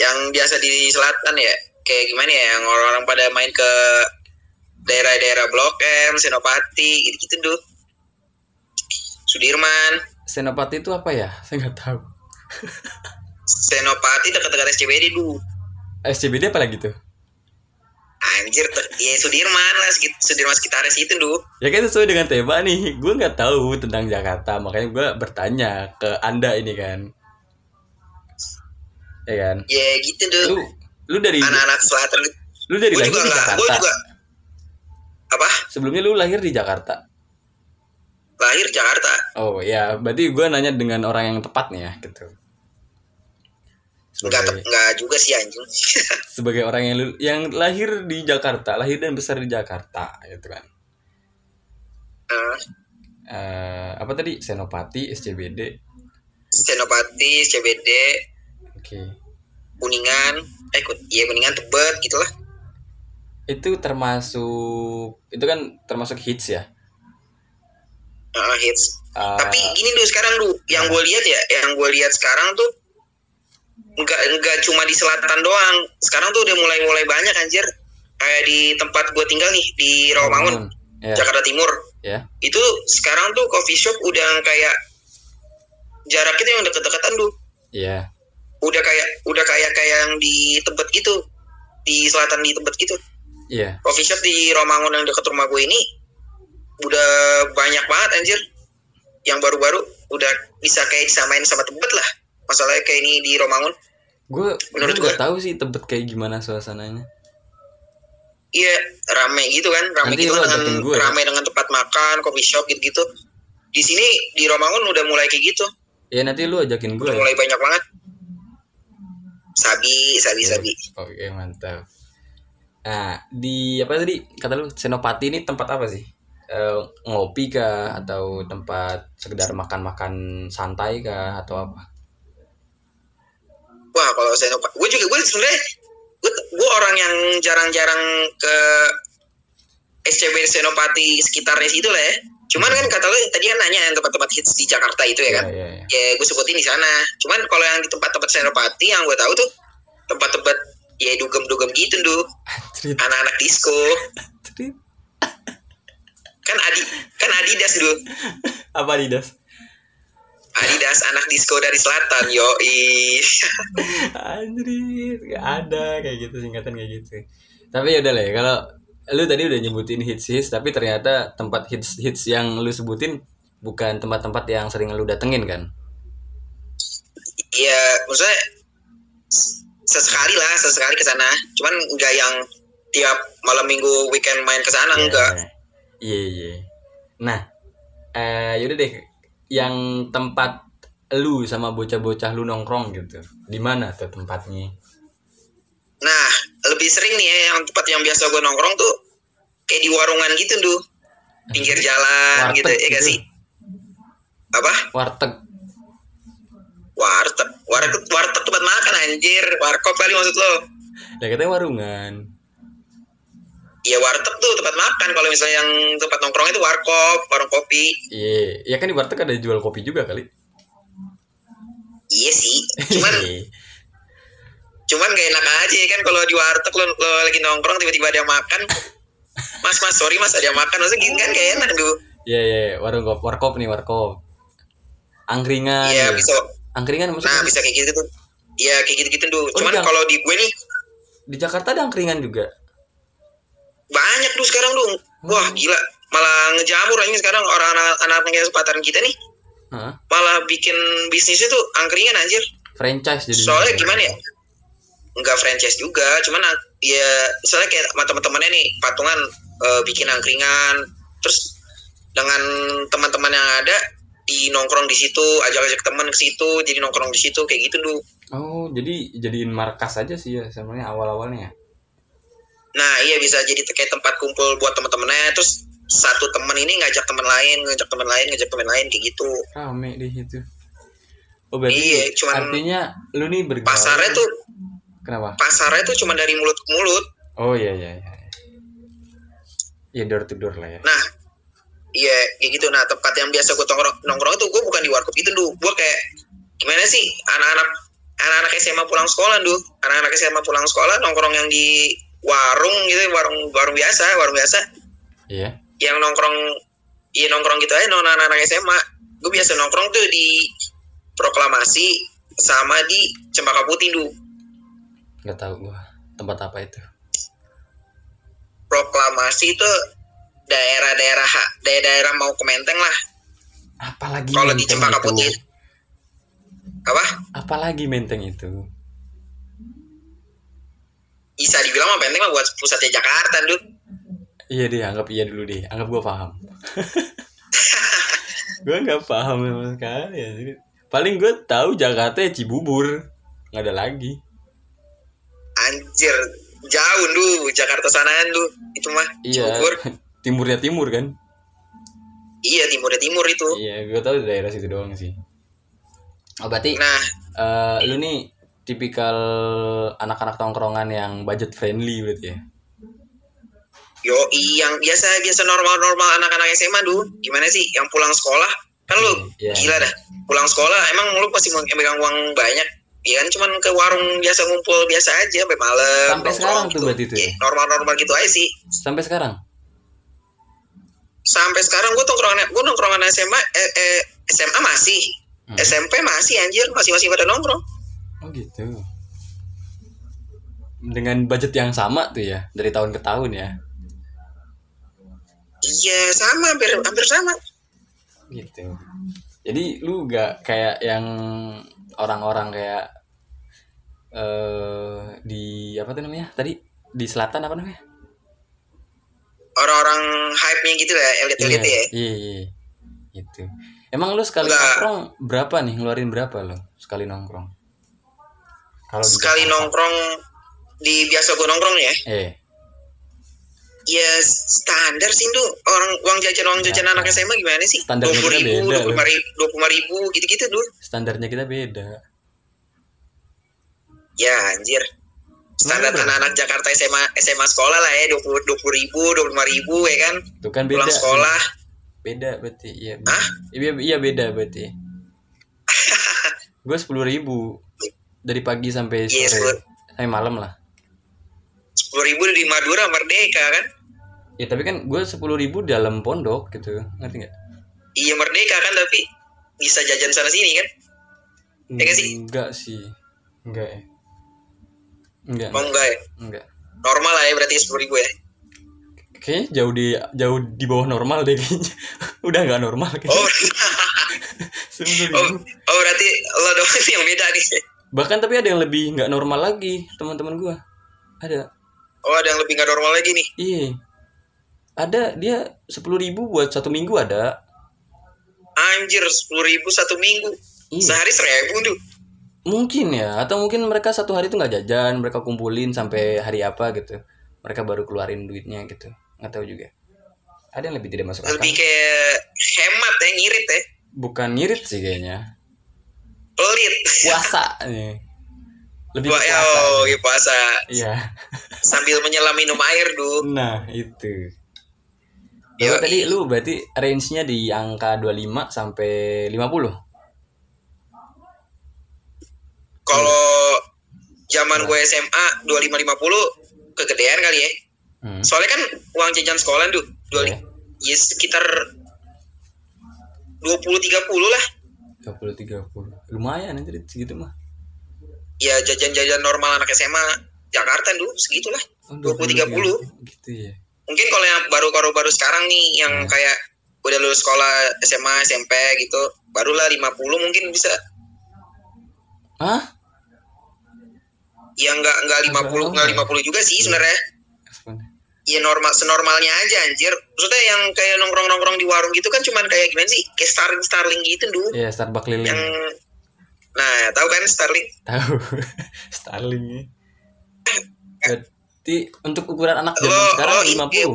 Speaker 2: yang biasa di Selatan ya kayak gimana ya yang orang-orang pada main ke daerah-daerah Blok M Senopati gitu-gitu tuh Sudirman
Speaker 1: senopati itu apa ya saya nggak tahu
Speaker 2: Senopati dekat-dekat SCBD dulu
Speaker 1: SCBD apa lagi tuh
Speaker 2: anjir te- ya Sudirman lah sekit- Sudirman sekitarnya situ dulu
Speaker 1: ya kan sesuai dengan tema nih gue nggak tahu tentang Jakarta makanya gue bertanya ke anda ini kan ya kan
Speaker 2: ya gitu
Speaker 1: lu
Speaker 2: dulu
Speaker 1: lu dari
Speaker 2: anak-anak Selatan
Speaker 1: lu dari
Speaker 2: gue
Speaker 1: lahir
Speaker 2: juga
Speaker 1: di
Speaker 2: nggak gue
Speaker 1: Jakarta
Speaker 2: juga apa
Speaker 1: sebelumnya lu lahir di Jakarta
Speaker 2: lahir Jakarta
Speaker 1: Oh ya, berarti gue nanya dengan orang yang tepat nih ya, gitu.
Speaker 2: nggak
Speaker 1: Sebagai,
Speaker 2: nggak juga sih anjing
Speaker 1: sebagai orang yang lu- yang lahir di Jakarta, lahir dan besar di Jakarta, gitu kan.
Speaker 2: Eh,
Speaker 1: Eh, apa tadi Senopati, SCBD,
Speaker 2: Senopati CBD
Speaker 1: oke.
Speaker 2: Kuningan eh Kun- iya Kuningan Tebet gitulah
Speaker 1: Itu termasuk itu kan termasuk hits ya.
Speaker 2: Eh, hits
Speaker 1: Eh,
Speaker 2: tapi gini dulu sekarang lu yang gue lihat ya yang gue lihat sekarang tuh nggak nggak cuma di selatan doang sekarang tuh udah mulai mulai banyak anjir kayak di tempat gue tinggal nih di Rawamangun
Speaker 1: Ya,
Speaker 2: Jakarta Timur
Speaker 1: ya.
Speaker 2: itu sekarang tuh coffee shop udah yang kayak jarak itu yang deket-deketan tuh
Speaker 1: Iya.
Speaker 2: udah kayak udah kayak kayak yang di Tebet gitu di selatan di Tebet gitu
Speaker 1: Iya.
Speaker 2: coffee shop di Romangun yang dekat rumah gue ini udah banyak banget anjir yang baru-baru udah bisa kayak disamain sama Tebet lah masalahnya kayak ini di Romangun
Speaker 1: Gue
Speaker 2: Menurut
Speaker 1: nggak tahu sih Tebet kayak gimana suasananya.
Speaker 2: iya rame gitu kan rame
Speaker 1: Nanti
Speaker 2: gitu
Speaker 1: lu
Speaker 2: kan dengan
Speaker 1: ajakin gue ya.
Speaker 2: rame dengan tempat makan coffee shop gitu gitu di sini di Romangun udah mulai kayak gitu
Speaker 1: Ya nanti lu ajakin gue.
Speaker 2: udah mulai banyak banget sabi sabi
Speaker 1: Iya.
Speaker 2: sabi
Speaker 1: Oke mantap. Nah di apa tadi kata lu Senopati ini tempat apa sih? Eh, ngopi kah atau tempat sekedar makan-makan santai kah atau apa?
Speaker 2: wah kalau saya gue juga gue sebenarnya gue gue orang yang jarang-jarang ke SCB Senopati sekitarnya situ lah ya cuman kan kata lu tadi kan nanya yang tempat-tempat hits di Jakarta itu ya kan
Speaker 1: Ya, ya, ya.
Speaker 2: ya gue sebutin di sana cuman kalau yang di tempat-tempat Senopati yang gue tahu tuh tempat-tempat ya dugem-dugem gitu duh
Speaker 1: Atrit,
Speaker 2: anak-anak disco
Speaker 1: atrit.
Speaker 2: kan adi kan Adidas dulu
Speaker 1: Apa Adidas?
Speaker 2: Adidas anak disco dari selatan yo
Speaker 1: Anjir, gak
Speaker 2: Hmm.
Speaker 1: ada kayak gitu singkatan kayak gitu. Tapi ya udah lah ya kalau lu tadi udah nyebutin hits hits tapi ternyata tempat hits hits yang lu sebutin bukan tempat-tempat yang sering lu datengin kan?
Speaker 2: Iya, maksudnya s- sesekali lah, sesekali ke sana. Cuman nggak yang tiap malam minggu weekend main ke sana
Speaker 1: Iya,
Speaker 2: enggak.
Speaker 1: Iya iya. Nah, eh, yaudah deh, yang tempat lu sama bocah-bocah lu nongkrong gitu, di mana tuh tempatnya?
Speaker 2: Nah, lebih sering nih ya, yang tempat yang biasa gue nongkrong tuh kayak di warungan gitu, duh. Pinggir jalan gitu, ya gak sih? Apa?
Speaker 1: Warteg.
Speaker 2: Warteg. Warteg, warteg tempat makan anjir. Warkop kali maksud lo.
Speaker 1: Nah katanya warungan.
Speaker 2: Iya warteg tuh tempat makan. Kalau misalnya yang tempat nongkrong itu warkop, warung kopi.
Speaker 1: Iya, ya kan di warteg ada jual kopi juga kali.
Speaker 2: Iya sih. Cuman cuman gak enak aja ya kan kalau di warteg lo, lo lagi nongkrong tiba-tiba ada yang makan mas mas sorry mas ada yang makan maksudnya gitu kan gak enak dulu
Speaker 1: Iya iya, warung kop, warkop nih warkop. Angkringan. ya.
Speaker 2: iya bisa
Speaker 1: Angkringan maksudnya
Speaker 2: nah bisa kayak gitu tuh iya kayak gitu gitu tuh cuman
Speaker 1: jangan.
Speaker 2: kalau di gue nih
Speaker 1: di Jakarta ada angkringan juga.
Speaker 2: banyak tuh sekarang tuh wah gila malah ngejamur aja sekarang orang anak-anak yang sepataran kita nih
Speaker 1: Hah?
Speaker 2: malah bikin bisnisnya tuh angkringan anjir
Speaker 1: Franchise jadi.
Speaker 2: soalnya gimana ya nggak franchise juga cuman ang- ya misalnya kayak sama teman-temannya nih patungan eh, bikin angkringan terus dengan teman-teman yang ada di nongkrong di situ ajak-ajak teman ke situ jadi nongkrong di situ kayak gitu dulu
Speaker 1: Oh, jadi jadiin markas aja sih ya sebenarnya awal-awalnya. ya.
Speaker 2: nah iya bisa jadi te- kayak tempat kumpul buat teman-temannya terus satu teman ini ngajak teman lain ngajak teman lain ngajak teman lain kayak gitu
Speaker 1: Rame deh itu. Oh, berarti
Speaker 2: Iya, cuman-
Speaker 1: artinya lu nih bergaul.
Speaker 2: pasarnya tuh
Speaker 1: kenapa?
Speaker 2: pasarnya tuh cuma dari mulut ke mulut
Speaker 1: Oh iya iya iya. Ya door to door lah ya.
Speaker 2: Nah, iya kayak gitu. Nah, tempat yang biasa gue nongkrong, nongkrong itu gue bukan di warkop gitu, dulu. Gue kayak gimana sih anak-anak anak-anak SMA pulang sekolah, duh. Anak-anak SMA pulang sekolah nongkrong yang di warung gitu, warung warung biasa, warung biasa
Speaker 1: Iya.
Speaker 2: yang nongkrong iya nongkrong gitu aja nongkrong anak-anak SMA. Gue biasa nongkrong tuh di Proklamasi sama di Cempaka Putih, duh.
Speaker 1: Nggak tahu gua tempat apa itu.
Speaker 2: Proklamasi itu daerah-daerah daerah-daerah mau kementeng lah
Speaker 1: Apalagi
Speaker 2: kalau di
Speaker 1: menteng
Speaker 2: Cempaka
Speaker 1: itu?
Speaker 2: Putih apa
Speaker 1: Apalagi menteng itu.
Speaker 2: bisa dibilang mah penting mah buat pusatnya Jakarta dude
Speaker 1: Iya deh, anggap iya dulu deh. Anggap gue paham. gue nggak paham sama sekali. ya. Jadi, paling gue tahu Jakarta ya Cibubur. Nggak ada lagi.
Speaker 2: anjir jauh lu Jakarta sanaan lu itu mah
Speaker 1: Iya.
Speaker 2: Cibubur.
Speaker 1: Timurnya timur kan?
Speaker 2: iya timur timur itu
Speaker 1: Iya, gue tahu daerah situ doang sih. Oh, berarti
Speaker 2: nah
Speaker 1: eh, lu nih tipikal anak-anak tongkrongan yang budget friendly berarti ya?
Speaker 2: yo yang biasa biasa normal normal anak-anak SMA dude gimana sih yang pulang sekolah kan lu
Speaker 1: Iya.
Speaker 2: gila dah pulang sekolah emang lu pasti mau megang uang banyak Iya kan cuman ke warung biasa ngumpul biasa aja sampai malam.
Speaker 1: Sampai sekarang
Speaker 2: nongkrong
Speaker 1: tuh berarti tuh ya?
Speaker 2: Iya, Normal-normal gitu aja sih.
Speaker 1: Sampai sekarang?
Speaker 2: Sampai sekarang gue nongkrongan gue nongkrongan SMA eh, eh, SMA masih
Speaker 1: Hmm.
Speaker 2: SMP masih anjir masih masih pada nongkrong
Speaker 1: Oh gitu. Dengan budget yang sama tuh ya, dari tahun ke tahun ya.
Speaker 2: iya sama hampir hampir sama
Speaker 1: gitu jadi lu gak kayak yang orang-orang kayak eh di apa tuh namanya tadi di selatan apa namanya
Speaker 2: orang-orang hype nya gitu lah elit elit
Speaker 1: iya
Speaker 2: ya
Speaker 1: iya, iya. gitu Emang lu sekali
Speaker 2: Enggak.
Speaker 1: nongkrong berapa nih? Ngeluarin berapa lo sekali nongkrong? Kalau di
Speaker 2: Sekali
Speaker 1: Jakarta.
Speaker 2: nongkrong di biasa gue nongkrong ya.
Speaker 1: Eh,
Speaker 2: Ya standar sih Ndu. orang uang jajan uang jajan
Speaker 1: Ya.
Speaker 2: anak SMA gimana sih?
Speaker 1: Standar
Speaker 2: Dua puluh ribu,
Speaker 1: beda
Speaker 2: dua
Speaker 1: loh.
Speaker 2: puluh ribu, gitu-gitu dulu.
Speaker 1: standarnya kita beda.
Speaker 2: Ya anjir. Standar
Speaker 1: Bener.
Speaker 2: anak-anak Jakarta SMA SMA sekolah lah ya dua puluh ribu, dua ribu ya kan.
Speaker 1: Itu kan beda.
Speaker 2: Pulang sekolah.
Speaker 1: Beda berarti. Iya. beda.
Speaker 2: Hah?
Speaker 1: Iya, iya beda berarti. Gue sepuluh ribu dari pagi sampai sore,
Speaker 2: Iya, sepuluh.
Speaker 1: sampai malam lah.
Speaker 2: Sepuluh ribu di Madura Merdeka kan?
Speaker 1: Ya tapi kan gue sepuluh ribu dalam pondok gitu, ngerti nggak?
Speaker 2: Iya Merdeka kan tapi bisa jajan sana sini kan? Ya nggak sih?
Speaker 1: Enggak sih, enggak ya. Enggak,
Speaker 2: Mau enggak ya?
Speaker 1: enggak.
Speaker 2: Normal lah ya berarti sepuluh ribu ya.
Speaker 1: Kayaknya jauh di jauh di bawah normal deh kayaknya. Udah nggak normal kayaknya.
Speaker 2: Oh, oh,
Speaker 1: Sebelum-
Speaker 2: oh berarti lo doang nih yang beda nih.
Speaker 1: Bahkan tapi ada yang lebih nggak normal lagi teman-teman gue. Ada,
Speaker 2: Oh ada yang lebih nggak normal lagi nih.
Speaker 1: iya. Ada dia sepuluh ribu buat satu minggu ada.
Speaker 2: Anjir sepuluh ribu satu minggu.
Speaker 1: Iya.
Speaker 2: Sehari seribu tuh.
Speaker 1: Mungkin ya, atau mungkin mereka satu hari itu nggak jajan, mereka kumpulin sampai hari apa gitu. Mereka baru keluarin duitnya gitu. Nggak tahu juga. Ada yang lebih tidak masuk akal.
Speaker 2: Lebih kayak hemat ya ngirit ya.
Speaker 1: Bukan ngirit sih kayaknya.
Speaker 2: Pelit.
Speaker 1: Puasa nih. Lebih ke
Speaker 2: Wah ya
Speaker 1: puasa.
Speaker 2: oh, lagi puasa.
Speaker 1: Iya.
Speaker 2: Sambil menyelam minum air du.
Speaker 1: Nah, itu.
Speaker 2: Yo,
Speaker 1: Lu tadi lu berarti range-nya di angka 25 sampai 50.
Speaker 2: Kalau zaman gue SMA dua lima lima puluh kegedean kali ya.
Speaker 1: Hmm.
Speaker 2: Soalnya kan uang jajan sekolah tuh dua
Speaker 1: Iya.
Speaker 2: ya sekitar dua puluh tiga puluh lah.
Speaker 1: 20 30. Lumayan itu segitu mah.
Speaker 2: Ya jajan-jajan normal anak SMA Jakarta du segitulah.
Speaker 1: Oh,
Speaker 2: 20-30.
Speaker 1: 20-30. Gitu ya.
Speaker 2: mungkin kalau yang baru baru baru sekarang nih
Speaker 1: Hmm.
Speaker 2: yang kayak udah lulus sekolah SMA SMP gitu barulah 50 mungkin bisa
Speaker 1: Hah?
Speaker 2: ya nggak nggak 50 nggak 50 juga sih sebenarnya
Speaker 1: Responnya.
Speaker 2: ya normal senormalnya aja anjir maksudnya yang kayak nongkrong nongkrong di warung gitu kan cuman kayak gimana sih kayak starling starling gitu dulu
Speaker 1: Iya, Starbucks
Speaker 2: yang
Speaker 1: keliling.
Speaker 2: nah tahu kan starling
Speaker 1: Tahu. Starling ya. Berarti untuk ukuran anak zaman
Speaker 2: Lo-
Speaker 1: sekarang
Speaker 2: lo
Speaker 1: 50.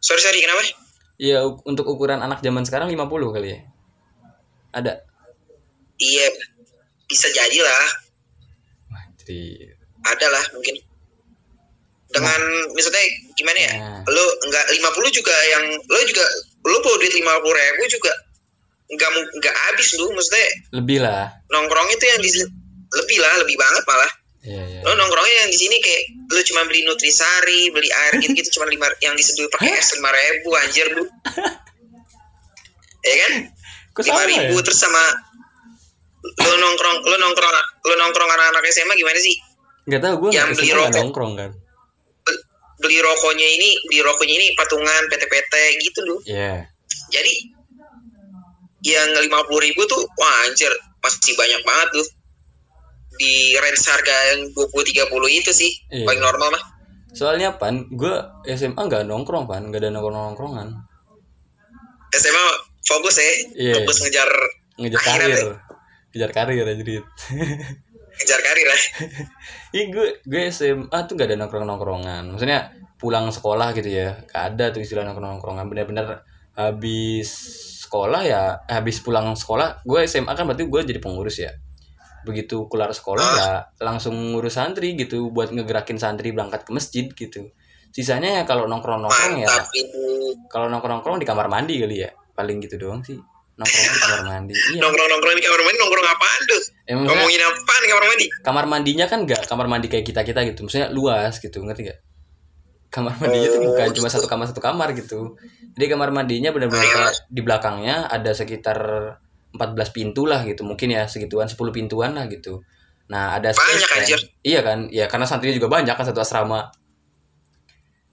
Speaker 2: sorry sorry kenapa
Speaker 1: Iya, uk- untuk ukuran anak zaman sekarang 50 kali ya. Ada.
Speaker 2: iya bisa jadi lah
Speaker 1: Wah, jadi
Speaker 2: ada lah mungkin dengan misalnya gimana ya
Speaker 1: Nah.
Speaker 2: lo nggak 50 juga yang lo juga lo perlu duit 50 ribu juga nggak mu- nggak habis lu maksudnya
Speaker 1: lebih lah.
Speaker 2: nongkrong itu yang di sini- lebih lah lebih banget malah
Speaker 1: Iya, iya.
Speaker 2: lo nongkrongnya yang di sini kayak lo cuma beli nutrisari beli air gitu gitu cuma lima yang diseduh pakai es lima ribu anjir lu ya kan
Speaker 1: Kok
Speaker 2: lima
Speaker 1: sama ya?
Speaker 2: ribu terus sama lo nongkrong lo nongkrong lo nongkrong anak-anak SMA gimana sih
Speaker 1: Enggak tahu gue
Speaker 2: Yang
Speaker 1: enggak
Speaker 2: beli
Speaker 1: nggak
Speaker 2: rokok.
Speaker 1: nongkrong kan.
Speaker 2: beli rokoknya ini beli rokoknya ini patungan PT-PT gitu loh
Speaker 1: Iya.
Speaker 2: jadi ya yang 50.000 ribu tuh wah anjir masih banyak banget tuh di range harga yang 20-30 itu sih
Speaker 1: Iya.
Speaker 2: paling normal mah
Speaker 1: Soalnya pan, gue SMA nggak nongkrong pan, nggak ada nongkrong nongkrongan,
Speaker 2: SMA fokus ya
Speaker 1: Iya.
Speaker 2: fokus ngejar
Speaker 1: ngejar
Speaker 2: Akhirnya,
Speaker 1: karir, ngejar karir aja duit.
Speaker 2: ngejar karir ya. lah
Speaker 1: Iya gue gue SMA tuh nggak ada nongkrong nongkrongan, maksudnya pulang sekolah gitu ya, nggak ada tuh istilah nongkrong nongkrongan, bener-bener habis sekolah ya, habis pulang sekolah, gue SMA kan berarti gue jadi pengurus ya. Begitu kelar sekolah ya langsung ngurus santri gitu, buat ngegerakin santri berangkat ke masjid gitu. Sisanya ya kalau nongkrong nongkrong ya
Speaker 2: mantap ibu
Speaker 1: kalau nongkrong nongkrong di kamar mandi kali ya paling gitu doang sih nongkrong di kamar mandi iya
Speaker 2: nongkrong nongkrong di kamar mandi nongkrong apaan tuh
Speaker 1: emang
Speaker 2: ngomongin apaan di kamar mandi
Speaker 1: kamar mandinya kan nggak kamar mandi kayak kita kita gitu maksudnya luas gitu ngerti nggak kamar mandinya tuh bukan
Speaker 2: Eh,
Speaker 1: cuma satu kamar satu kamar gitu jadi kamar mandinya benar-benar kayak di belakangnya ada sekitar 14 pintu lah gitu mungkin ya segituan 10 pintuan lah gitu nah ada space
Speaker 2: Banyak,
Speaker 1: kan.
Speaker 2: anjir.
Speaker 1: iya kan ya karena santrinya juga banyak kan satu asrama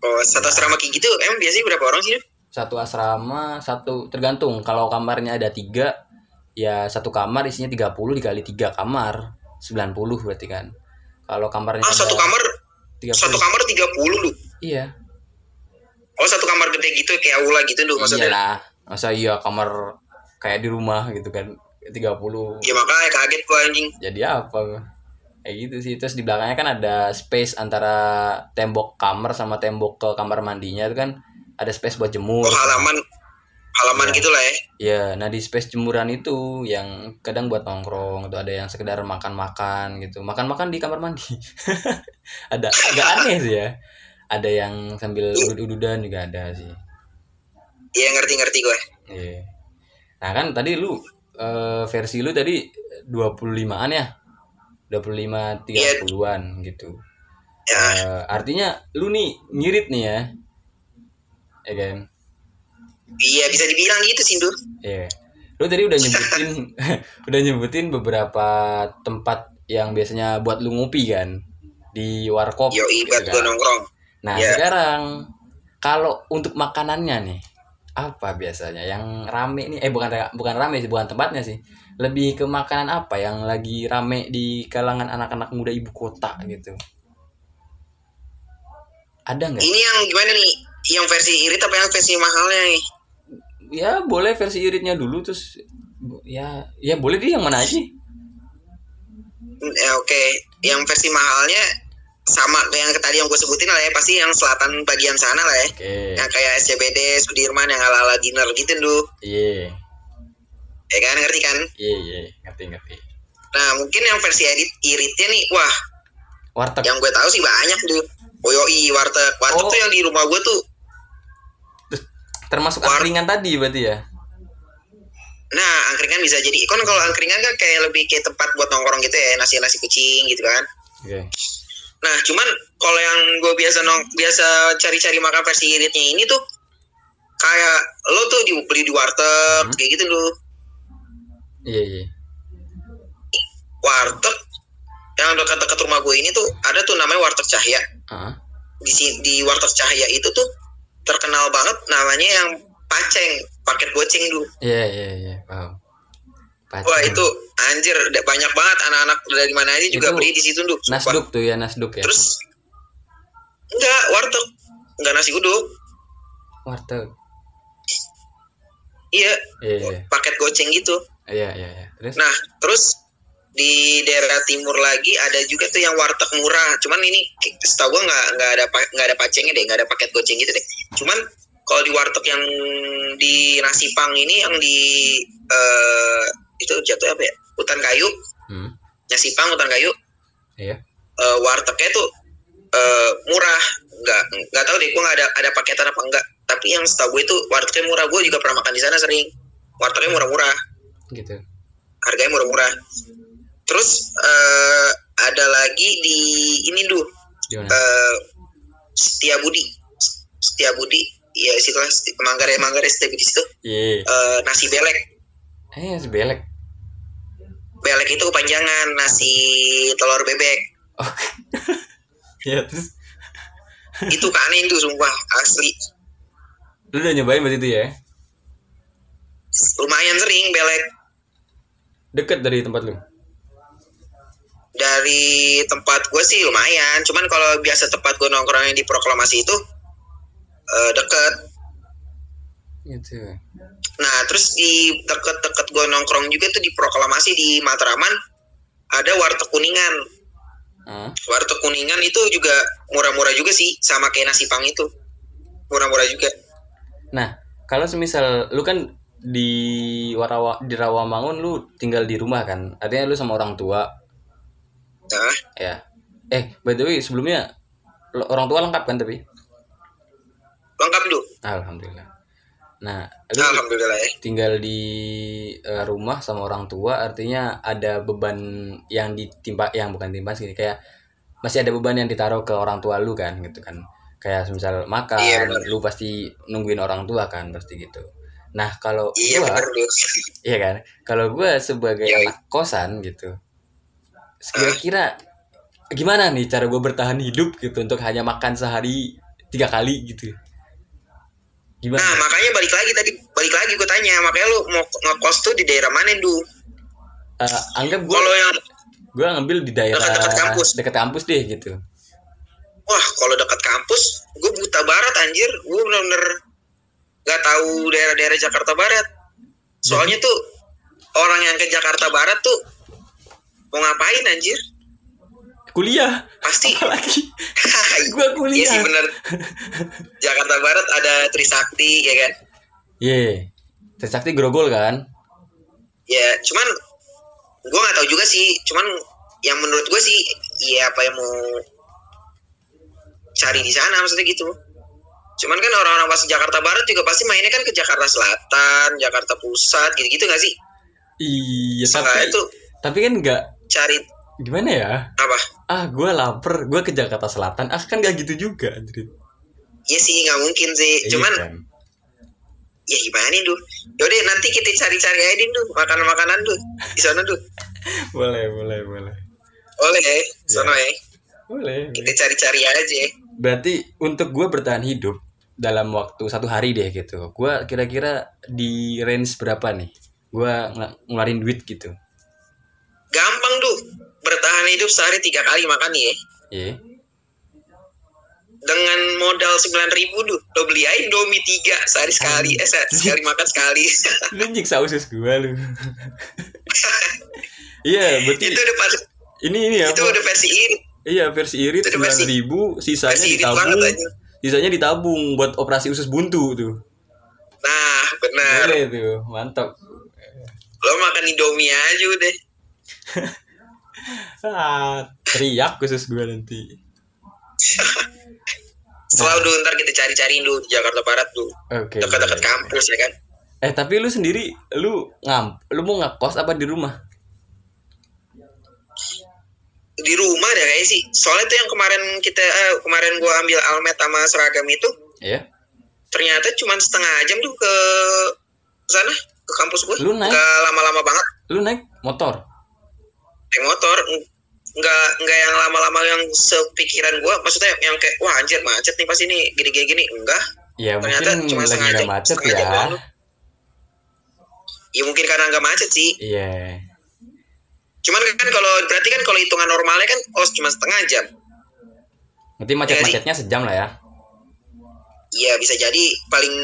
Speaker 2: oh satu asrama kayak gitu emang biasanya berapa orang sih
Speaker 1: satu asrama satu tergantung kalau kamarnya ada tiga ya satu kamar isinya 30 dikali tiga kamar 90 berarti kan kalau kamarnya
Speaker 2: ah
Speaker 1: ada
Speaker 2: satu kamar
Speaker 1: 30,
Speaker 2: satu kamar 30 lu
Speaker 1: iya
Speaker 2: Oh satu kamar gede gitu kayak aula gitu dulu maksudnya.
Speaker 1: Iyalah. Iya Masa iya kamar kayak di rumah gitu kan 30
Speaker 2: Ya makanya kaget gua anjing.
Speaker 1: jadi apa gua? kayak gitu sih terus di belakangnya kan ada space antara tembok kamar sama tembok ke kamar mandinya itu kan ada space buat jemur
Speaker 2: Oh halaman halaman
Speaker 1: Iya.
Speaker 2: gitulah ya.
Speaker 1: ya nah di space jemuran itu yang kadang buat nongkrong itu ada yang sekedar makan-makan gitu makan-makan di kamar mandi ada agak aneh sih ya ada yang sambil udud-ududan juga ada sih
Speaker 2: Iya ngerti-ngerti gua.
Speaker 1: Iya. Nah kan tadi lu eh, versi lu tadi 25-an ya? 25
Speaker 2: Iya.
Speaker 1: 30-an gitu.
Speaker 2: Ya.
Speaker 1: Eh, artinya lu nih ngirit nih ya. Ya kan?
Speaker 2: Iya bisa dibilang gitu sih Dur.
Speaker 1: Iya. Lu tadi udah nyebutin udah nyebutin beberapa tempat yang biasanya buat lu ngopi kan di warkop.
Speaker 2: Yo
Speaker 1: gitu
Speaker 2: ibat
Speaker 1: kan.
Speaker 2: gua nongkrong.
Speaker 1: Nah,
Speaker 2: Iya.
Speaker 1: sekarang kalau untuk makanannya nih, apa biasanya yang rame nih? Eh bukan bukan rame sih, bukan tempatnya sih. Lebih ke makanan apa yang lagi rame di kalangan anak-anak muda ibu kota gitu. Ada nggak?
Speaker 2: Ini yang gimana nih? Yang versi irit apa yang versi mahalnya nih?
Speaker 1: Ya boleh versi iritnya dulu terus bu- ya ya boleh dia yang mana aja.
Speaker 2: Hmm, eh, Oke, yang versi mahalnya sama yang tadi yang gue sebutin lah ya pasti yang selatan bagian sana lah ya
Speaker 1: Oke.
Speaker 2: yang kayak SCBD, Sudirman yang ala ala dinner gitu dulu
Speaker 1: Iya.
Speaker 2: ya kan ngerti kan
Speaker 1: Iya, iya, ngerti ngerti.
Speaker 2: nah mungkin yang versi edit iritnya nih wah
Speaker 1: Warteg.
Speaker 2: yang gue tahu sih banyak tuh Boyoi, warteg warteg
Speaker 1: Oh.
Speaker 2: tuh yang di rumah gue tuh
Speaker 1: Termasuk
Speaker 2: war-
Speaker 1: angkringan tadi berarti ya?
Speaker 2: nah angkringan bisa jadi kan kalau angkringan kan kayak lebih kayak tempat buat nongkrong gitu ya nasi nasi kucing gitu kan
Speaker 1: Oke.
Speaker 2: Nah, cuman kalau yang gue biasa nong biasa cari-cari makan versi iritnya ini tuh kayak lo tuh di, beli di warteg
Speaker 1: Hmm.
Speaker 2: kayak gitu lo
Speaker 1: Iya, iya.
Speaker 2: warteg yang dekat-dekat rumah gue ini tuh ada tuh namanya warteg cahaya
Speaker 1: Ah.
Speaker 2: di si- di warteg cahaya itu tuh terkenal banget namanya yang paceng paket goceng dulu
Speaker 1: Iya iya iya paham. Pacen.
Speaker 2: wah itu anjir da- banyak banget anak-anak dari mana aja juga
Speaker 1: Itu
Speaker 2: beli di situ dulu
Speaker 1: nasduk tuh ya nasduk ya.
Speaker 2: terus enggak warteg enggak nasi uduk
Speaker 1: Warteg.
Speaker 2: iya
Speaker 1: Iya iya
Speaker 2: paket goceng gitu
Speaker 1: iya iya. iya. Terus
Speaker 2: Nah, terus di daerah timur lagi ada juga tuh yang warteg murah. Cuman ini setahu gua nggak nggak ada pa- nggak ada pacengnya deh, nggak ada paket goceng gitu deh. Cuman kalau di warteg yang di nasi pang ini yang di eh itu jatuh apa ya? Hutan kayu,
Speaker 1: hmm.
Speaker 2: nasi pang hutan kayu,
Speaker 1: Iya.
Speaker 2: eh, wartegnya tuh eh, murah. Nggak nggak tahu deh gua nggak ada ada paketan apa enggak. Tapi yang setahu gue itu wartegnya murah. Gue juga pernah makan di sana sering. Wartegnya murah-murah
Speaker 1: Gitu.
Speaker 2: harganya murah-murah. Terus eh, ada lagi di ini dulu
Speaker 1: Gimana?
Speaker 2: eh Setia Budi, Setia Budi, ya situlah Seti- Manggarai Manggarai Setia Budi situ
Speaker 1: Iya.
Speaker 2: Eh, nasi belek,
Speaker 1: Eh sebelek.
Speaker 2: belek itu kepanjangan nasi telur bebek.
Speaker 1: Oke. Iya terus
Speaker 2: Itu keanehan tuh sumpah asli.
Speaker 1: lu udah nyobain berarti itu ya?
Speaker 2: Lumayan sering belek
Speaker 1: Deket dari tempat lu.
Speaker 2: dari tempat gue sih lumayan. Cuman kalau biasa tempat gue nongkrong yang di proklamasi itu eh, deket
Speaker 1: Gitu.
Speaker 2: Nah, terus di deket-deket gue nongkrong juga tuh di proklamasi di Matraman ada warteg kuningan.
Speaker 1: Ah.
Speaker 2: Warteg kuningan itu juga murah-murah juga sih, sama kayak nasi pang itu. Murah-murah juga.
Speaker 1: Nah kalau semisal lu kan di Warawa di Rawamangun lu tinggal di rumah kan? Artinya lu sama orang tua
Speaker 2: Nah,
Speaker 1: ya. Eh by the way sebelumnya lo- orang tua lengkap kan tapi?
Speaker 2: lengkap dulu.
Speaker 1: Alhamdulillah. Nah, lu
Speaker 2: Alhamdulillah ya.
Speaker 1: tinggal di eh, rumah sama orang tua artinya ada beban yang ditimpa yang bukan timpa sih kayak masih ada beban yang ditaruh ke orang tua lu kan gitu kan. Kayak misal makan,
Speaker 2: Iya, benar.
Speaker 1: lu pasti nungguin orang tua kan pasti gitu. Nah, kalau
Speaker 2: Iya
Speaker 1: gua
Speaker 2: benar dulu.
Speaker 1: Iya kan? Kalau gue sebagai
Speaker 2: Yoi.
Speaker 1: anak kosan gitu, kira-kira gimana nih cara gue bertahan hidup gitu untuk hanya makan sehari tiga kali gitu? Gimana?
Speaker 2: Nah, makanya balik lagi tadi, balik lagi gue tanya, makanya lu mau ngekos tuh di daerah mana dulu?
Speaker 1: Eh, anggap gue
Speaker 2: Kalau yang
Speaker 1: gue ngambil di daerah
Speaker 2: Dekat-dekat kampus.
Speaker 1: dekat kampus deh gitu.
Speaker 2: wah kalau dekat kampus gue buta barat anjir gue bener-bener gak tahu daerah-daerah Jakarta Barat soalnya tuh orang yang ke Jakarta Barat tuh mau ngapain anjir
Speaker 1: Kuliah.
Speaker 2: pasti
Speaker 1: Apalagi gua
Speaker 2: iya
Speaker 1: kuliah.
Speaker 2: sih bener Jakarta Barat ada Trisakti ya kan
Speaker 1: Ye. Trisakti Grogol kan?
Speaker 2: ya cuman gue nggak tahu juga sih cuman yang menurut gue sih ya apa yang mau cari di sana maksudnya gitu cuman kan orang-orang pas Jakarta Barat juga pasti mainnya kan ke Jakarta Selatan Jakarta Pusat gitu-gitu nggak sih
Speaker 1: Iya,
Speaker 2: Seenggaknya
Speaker 1: tapi
Speaker 2: itu
Speaker 1: tapi kan nggak
Speaker 2: cari
Speaker 1: gimana ya?
Speaker 2: apa
Speaker 1: Ah, gue lapar, gue ke Jakarta Selatan. Ah, kan gak gitu juga, anjir.
Speaker 2: ya sih nggak mungkin sih cuman
Speaker 1: Iya, kan?
Speaker 2: ya gimana dulu yaudah nanti kita cari-cari aja Din, dulu makanan-makanan dulu di sana dulu
Speaker 1: boleh, boleh, boleh.
Speaker 2: oleh ya
Speaker 1: Iya.
Speaker 2: sana ya
Speaker 1: Boleh. boleh.
Speaker 2: kita cari-cari aja eh.
Speaker 1: Berarti untuk gue bertahan hidup dalam waktu satu hari deh gitu. Gue kira-kira di range berapa nih? Gue ng- ngeluarin duit gitu.
Speaker 2: gampang tuh bertahan hidup sehari tiga kali makan nih ya
Speaker 1: Iya.
Speaker 2: dengan modal sembilan ribu duh lo beli aja domi tiga sehari sekali eh se- sekali makan sekali
Speaker 1: Lu nyiksa usus gue lu. Iya, berarti
Speaker 2: itu udah pas-
Speaker 1: ini ini ya.
Speaker 2: itu udah versi ini
Speaker 1: Iya, versi irit
Speaker 2: itu versi-
Speaker 1: 9000, sisanya
Speaker 2: versi irit
Speaker 1: ditabung.
Speaker 2: banget aja
Speaker 1: Sisanya ditabung buat operasi usus buntu tuh.
Speaker 2: nah benar
Speaker 1: Boleh tuh, mantap.
Speaker 2: lo makan indomie aja udah
Speaker 1: Ah, teriak khusus gue nanti. Nah.
Speaker 2: selalu dulu ntar kita cari-cariin dulu di Jakarta Barat tuh
Speaker 1: Oke.
Speaker 2: dekat-dekat
Speaker 1: boleh.
Speaker 2: kampus ya kan
Speaker 1: Eh tapi lu sendiri lu ngam lu mau ngekos apa di rumah?
Speaker 2: di rumah deh kayaknya sih soalnya tuh yang kemarin kita eh, kemarin gua ambil almet sama seragam itu
Speaker 1: Ya.
Speaker 2: ternyata cuma setengah jam tuh ke sana ke kampus gua
Speaker 1: Lu naik?
Speaker 2: nggak lama-lama banget
Speaker 1: Lu naik motor.
Speaker 2: naik motor ng- nggak nggak yang lama-lama yang sepikiran gua maksudnya yang kayak wah anjir macet nih pas ini gini-gini gini enggak
Speaker 1: Ya
Speaker 2: Ternyata
Speaker 1: mungkin
Speaker 2: cuma
Speaker 1: lagi
Speaker 2: setengah
Speaker 1: gak
Speaker 2: jam-
Speaker 1: macet
Speaker 2: setengah jam
Speaker 1: ya.
Speaker 2: lalu. ya mungkin karena nggak macet sih
Speaker 1: Iya.
Speaker 2: cuman kan kalau berarti kan kalau hitungan normalnya kan oh cuma setengah jam
Speaker 1: Nanti macet-macetnya sejam lah ya.
Speaker 2: Iya bisa jadi paling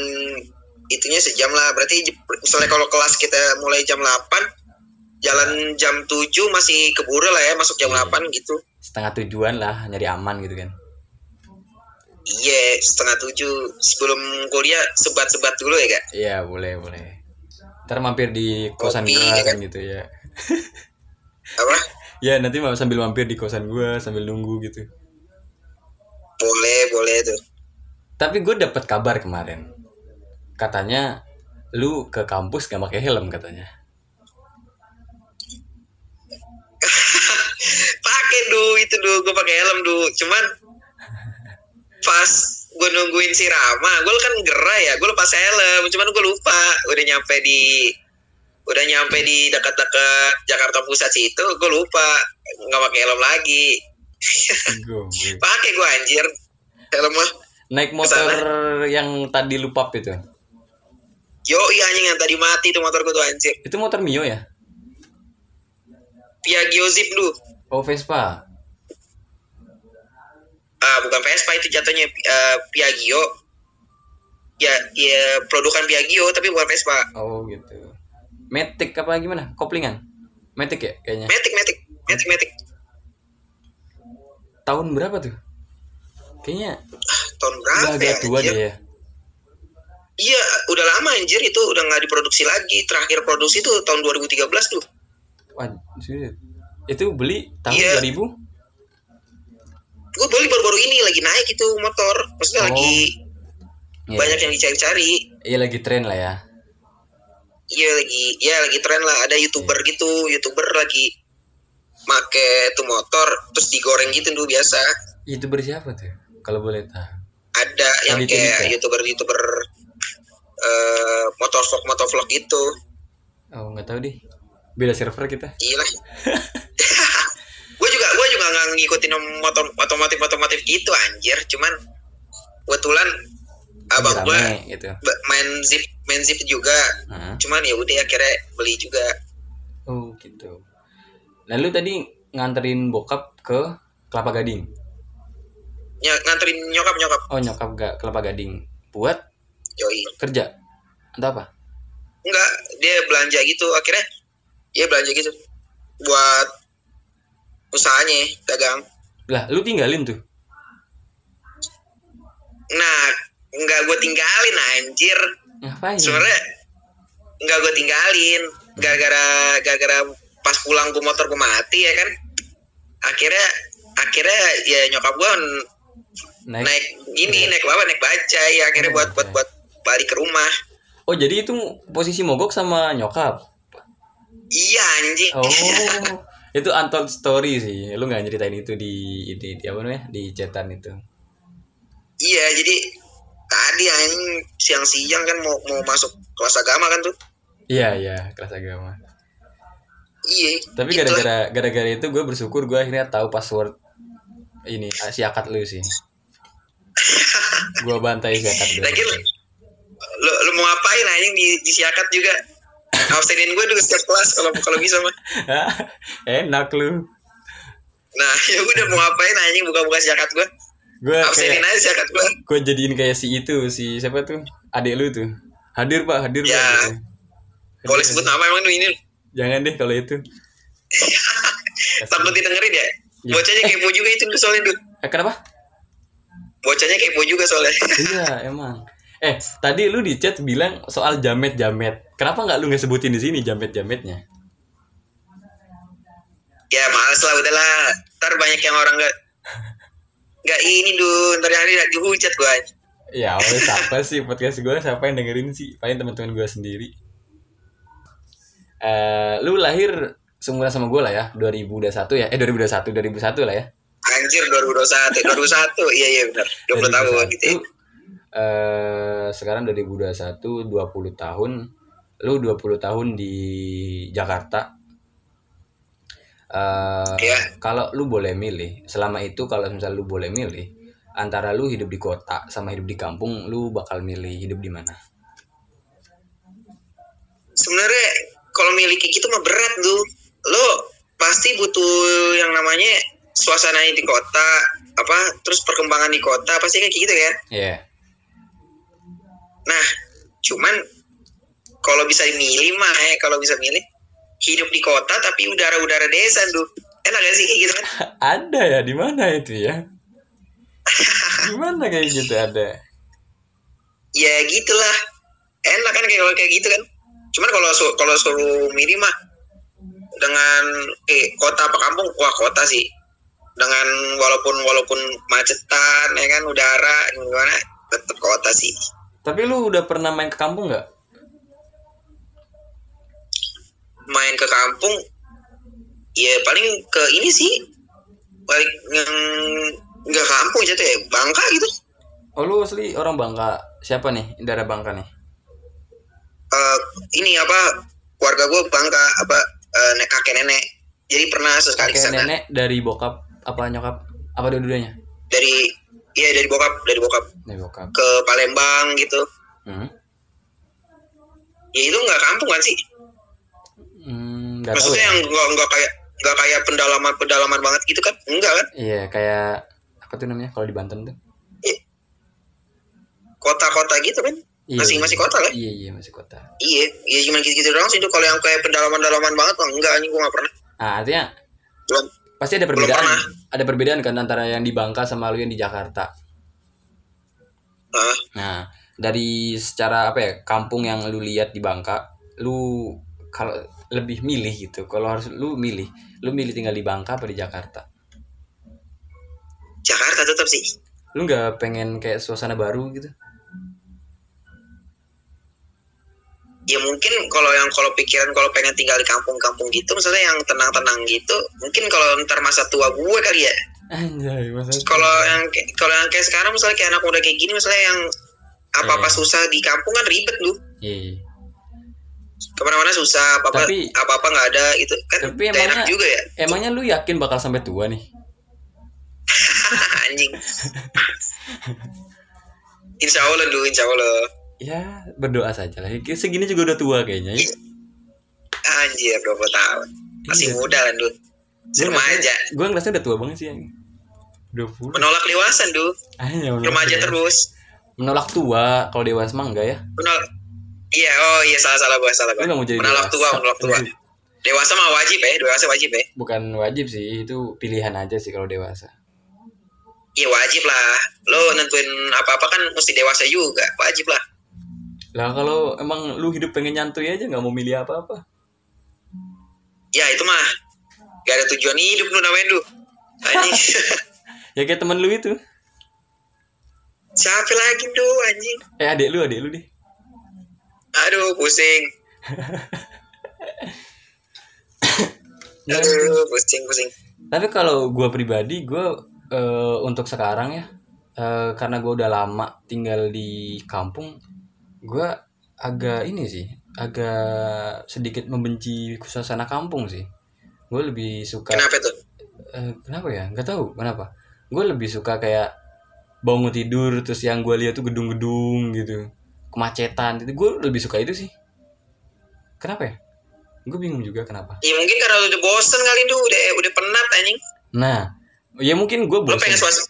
Speaker 2: itunya sejam lah. Berarti je- misalnya kalau kelas kita mulai jam 8, jalan jam 7 masih keburu lah ya masuk jam
Speaker 1: Iya.
Speaker 2: 8 gitu.
Speaker 1: Setengah tujuan lah nyari aman gitu kan.
Speaker 2: Iya setengah 7 sebelum kuliah sebat-sebat dulu ya kak.
Speaker 1: Iya boleh boleh. Ntar mampir di kosan
Speaker 2: Kopi,
Speaker 1: gua
Speaker 2: ya
Speaker 1: kan
Speaker 2: kan?
Speaker 1: gitu ya.
Speaker 2: Apa?
Speaker 1: Ya nanti ma- sambil mampir di kosan gua sambil nunggu gitu.
Speaker 2: Boleh boleh tuh.
Speaker 1: Tapi gue dapet kabar kemarin. Katanya lu ke kampus gak pakai helm katanya.
Speaker 2: Pakai du itu du gue pakai helm du. Cuman pas gue nungguin si Rama, gue kan gerai ya, gue lepas helm, cuman gue lupa udah nyampe di udah nyampe di dekat-dekat Jakarta Pusat situ, gue lupa nggak pakai helm lagi,
Speaker 1: Goblok.
Speaker 2: pakai gue anjir helm mah,
Speaker 1: Naik motor yang tadi lu pap itu.
Speaker 2: yo iya anjing yang tadi mati tuh motor gue tuh anjir,
Speaker 1: Itu motor Mio ya?
Speaker 2: Piaggio Zip lu,
Speaker 1: Oh Vespa.
Speaker 2: ah bukan Vespa itu jatuhnya eh, Piaggio, ya ya produkan Piaggio tapi bukan Vespa,
Speaker 1: Oh gitu. Matic apa gimana? Koplingan. Matic ya kayaknya.
Speaker 2: metik metik metik metik
Speaker 1: Tahun berapa tuh? Kayaknya
Speaker 2: tahun
Speaker 1: udah
Speaker 2: berapa ya,
Speaker 1: agak tua
Speaker 2: anjir?
Speaker 1: deh ya.
Speaker 2: Iya, udah lama anjir itu udah nggak diproduksi lagi. Terakhir produksi tuh tahun 2013 tuh.
Speaker 1: Wah, serius. Itu beli tahun
Speaker 2: Iya.
Speaker 1: 2000?
Speaker 2: Gue beli baru-baru ini lagi naik itu motor. Maksudnya
Speaker 1: Oh.
Speaker 2: lagi
Speaker 1: Iya.
Speaker 2: banyak yang dicari-cari.
Speaker 1: Iya lagi tren lah ya.
Speaker 2: Iya lagi, ya lagi tren lah. Ada youtuber
Speaker 1: Iya.
Speaker 2: gitu, youtuber lagi make tuh motor terus digoreng gitu dulu biasa.
Speaker 1: YouTuber siapa tuh? Kalau boleh tahu.
Speaker 2: Ada yang
Speaker 1: Tadi cerita.
Speaker 2: kayak youtuber-youtuber eh motor vlog motor vlog gitu.
Speaker 1: Oh nggak tahu deh. Beda server kita.
Speaker 2: Iya lah. gue juga gue juga nggak ngikutin motor otomotif otomotif gitu anjir. Cuman kebetulan abang
Speaker 1: Lagi
Speaker 2: gue
Speaker 1: rame gitu.
Speaker 2: main zip main zip juga.
Speaker 1: Heeh.
Speaker 2: Cuman ya udah akhirnya beli juga.
Speaker 1: Oh gitu. Lalu tadi nganterin bokap ke Kelapa Gading.
Speaker 2: ny- nganterin nyokap nyokap
Speaker 1: Oh nyokap gak kelapa gading buat
Speaker 2: yoi
Speaker 1: kerja entah apa?
Speaker 2: enggak dia belanja gitu akhirnya dia belanja gitu buat usahanya dagang
Speaker 1: Lah lu tinggalin tuh.
Speaker 2: nah enggak gue tinggalin anjir
Speaker 1: Ngapain?
Speaker 2: sebenarnya enggak gue tinggalin gara-gara gara-gara pas pulang gue motor gue mati ya kan akhirnya akhirnya ya nyokap gue
Speaker 1: Naik. Iya.
Speaker 2: naik ini naik apa naik bajai akhirnya buat buat buat balik ke rumah
Speaker 1: Oh jadi itu posisi mogok sama nyokap.
Speaker 2: iya anjing
Speaker 1: Oh. itu untold story sih. Lu nggak nyeritain itu di di, di apa namanya? Di chatan itu.
Speaker 2: Iya, jadi tadi anjing siang-siang kan mau mau masuk kelas agama kan tuh.
Speaker 1: Iya iya kelas agama.
Speaker 2: Iya.
Speaker 1: Tapi
Speaker 2: gitu lah.
Speaker 1: gara-gara gara-gara itu gue bersyukur gue akhirnya tahu password ini ah, si akad lu sih. gue bantai si akad lu.
Speaker 2: Lagi lu, lu, lu mau ngapain anjing di di siakat juga? Absenin gue dulu setiap kelas kalau kalau bisa mah.
Speaker 1: Enak lu.
Speaker 2: Nah, ya udah mau ngapain anjing buka-buka siakat gue.
Speaker 1: Gue
Speaker 2: Absenin aja kan, siakat gue.
Speaker 1: gue jadiin kayak si itu si siapa tuh adik lu tuh hadir pak hadir
Speaker 2: Ya.
Speaker 1: pak gitu.
Speaker 2: Boleh sebut nama emang lu ini.
Speaker 1: jangan deh kalau itu
Speaker 2: Takut didengerin ya.
Speaker 1: Iya.
Speaker 2: Bocahnya kepo juga itu Dul, soalnya dulu.
Speaker 1: eh, kenapa
Speaker 2: Bocahnya kepo juga soalnya.
Speaker 1: iya emang eh tadi lu di chat bilang soal jamet jamet kenapa nggak lu nggak sebutin di sini jamet jametnya
Speaker 2: ya males lah udahlah. Ntar banyak yang orang nggak nggak ini dulu. Ntar yang hari dihujat gue. anjing.
Speaker 1: ya oleh siapa sih podcast gue siapa yang dengerin sih paling teman-teman gue sendiri eh lu lahir seumuran sama gue lah ya 2021 ya eh 2021 2001 lah ya
Speaker 2: Anjir 2021, 2001, iya iya benar, 20 tahun gitu. ya.
Speaker 1: 2021, eh, sekarang 2021 20 tahun. Lu 20 tahun di Jakarta. Eh,
Speaker 2: Iya.
Speaker 1: kalau lu boleh milih, selama itu kalau misalnya lu boleh milih antara lu hidup di kota sama hidup di kampung, lu bakal milih hidup di mana?
Speaker 2: Sebenarnya kalau miliki gitu mah berat tuh. Lo pasti butuh yang namanya suasananya di kota, apa terus perkembangan di kota pasti kayak gitu ya.
Speaker 1: Iya.
Speaker 2: Nah, cuman kalau bisa milih mah ya, kalau bisa milih hidup di kota tapi udara-udara desa tuh. Enak gak sih kayak gitu kan?
Speaker 1: Ada ya di mana itu ya? Di mana kayak gitu ada?
Speaker 2: ya gitulah enak kan kayak kalau kayak gitu kan cuman kalau su- kalau suruh milih mah dengan eh, kota apa kampung wah kota sih dengan walaupun walaupun macetan ya kan udara gimana tetap kota sih
Speaker 1: Tapi lu udah pernah main ke kampung nggak?
Speaker 2: main ke kampung ya paling ke ini sih balik yang nggak kampung jatuh ya bangka gitu
Speaker 1: Oh lu asli orang Bangka. Siapa nih? Daerah Bangka nih.
Speaker 2: Eh, ini apa keluarga gue bangka apa eh, ne- kakek nenek jadi pernah sekali
Speaker 1: Kakek
Speaker 2: kesana
Speaker 1: nenek dari bokap apa nyokap? Apa dua-duanya?
Speaker 2: dari iya dari bokap dari bokap
Speaker 1: Dari bokap.
Speaker 2: ke Palembang gitu
Speaker 1: Hmm.
Speaker 2: ya itu nggak kampung kan sih
Speaker 1: Hmm, nggak tahu
Speaker 2: maksudnya
Speaker 1: ya.
Speaker 2: yang nggak nggak kayak nggak kayak pendalaman pendalaman banget gitu kan enggak kan
Speaker 1: Iya, kayak apa tuh namanya kalau di Banten tuh?
Speaker 2: kota-kota gitu kan
Speaker 1: Iya,
Speaker 2: Masih-
Speaker 1: iya.
Speaker 2: masih kota kan? lah.
Speaker 1: Iya, iya, masih kota.
Speaker 2: iya iya cuma gitu-gitu doang sih itu kalau yang kayak pendalaman-pendalaman banget mah enggak anjing gua nggak pernah
Speaker 1: Ah, artinya
Speaker 2: belum
Speaker 1: pasti ada
Speaker 2: Belum
Speaker 1: perbedaan.
Speaker 2: pernah.
Speaker 1: Ada perbedaan kan antara yang di Bangka sama lu yang di Jakarta.
Speaker 2: ah
Speaker 1: Nah, dari secara apa ya, kampung yang lu lihat di Bangka, lu kalau lebih milih gitu. Kalau harus lu milih, lu milih tinggal di Bangka apa di Jakarta?
Speaker 2: Jakarta tetap sih
Speaker 1: Lu nggak pengen kayak suasana baru gitu?
Speaker 2: ya mungkin kalau yang kalau pikiran kalau pengen tinggal di kampung-kampung gitu maksudnya yang tenang-tenang gitu mungkin kalau ntar masa tua gue kali ya
Speaker 1: Anjay, masa
Speaker 2: kalau yang kayak- kalau yang kayak sekarang misalnya kayak anak muda kayak gini misalnya yang apa-apa
Speaker 1: Iya.
Speaker 2: susah di kampung kan ribet lu
Speaker 1: Iya, iya.
Speaker 2: kemana-mana susah apa-apa
Speaker 1: Tapi-
Speaker 2: apa-apa nggak ada gitu kan
Speaker 1: Tapi
Speaker 2: nggak enak
Speaker 1: emangnya-
Speaker 2: juga ya
Speaker 1: Emangnya lu yakin bakal sampai tua nih?
Speaker 2: Ah, anjing insya Allah lu insya Allah
Speaker 1: Ya, berdoa saja lah. Segini juga udah tua kayaknya. Ya.
Speaker 2: anjir 20 tahun masih
Speaker 1: Iya.
Speaker 2: muda lah lu
Speaker 1: Gua
Speaker 2: remaja
Speaker 1: ngerasa- Gua ngerasa udah tua banget sih. ya. 20.
Speaker 2: Menolak lewasan, Du.
Speaker 1: Hanya menolak tua.
Speaker 2: Remaja
Speaker 1: ya.
Speaker 2: terus.
Speaker 1: Menolak tua, kalau dewasa mah enggak ya?
Speaker 2: Menolak Iya, oh iya salah-salah gua, salah
Speaker 1: Lu
Speaker 2: gua.
Speaker 1: nggak mau jadi
Speaker 2: Menolak tua,
Speaker 1: dewasa.
Speaker 2: menolak tua. Dewasa mah wajib ya, dewasa wajib ya.
Speaker 1: Bukan wajib sih, itu pilihan aja sih kalau dewasa.
Speaker 2: Iya wajib lah. Lo nentuin apa-apa kan mesti dewasa juga, wajib lah.
Speaker 1: Lah kalau emang lu hidup pengen nyantuy aja nggak mau milih apa-apa.
Speaker 2: Ya itu mah gak ada tujuan hidup lu namanya Du. Anjing.
Speaker 1: Ya kayak temen lu itu.
Speaker 2: Siapa lagi Du anjing?
Speaker 1: Eh adik lu, adik lu deh.
Speaker 2: Aduh pusing.
Speaker 1: Ya.
Speaker 2: Aduh pusing pusing.
Speaker 1: Tapi kalau gua pribadi, gua eh, untuk sekarang ya, eh, karena gua udah lama tinggal di kampung, gua agak ini sih, agak sedikit membenci suasana kampung sih. Gue lebih suka
Speaker 2: Kenapa tuh?
Speaker 1: eh, kenapa ya nggak tahu kenapa gue lebih suka kayak bangun tidur terus yang gue lihat tuh gedung-gedung gitu kemacetan itu gue lebih suka itu sih kenapa ya gue bingung juga kenapa
Speaker 2: Ya mungkin karena lu udah bosen kali Du, udah udah penat anjing.
Speaker 1: nah ya mungkin gue
Speaker 2: Lu pengen
Speaker 1: bosan
Speaker 2: suasana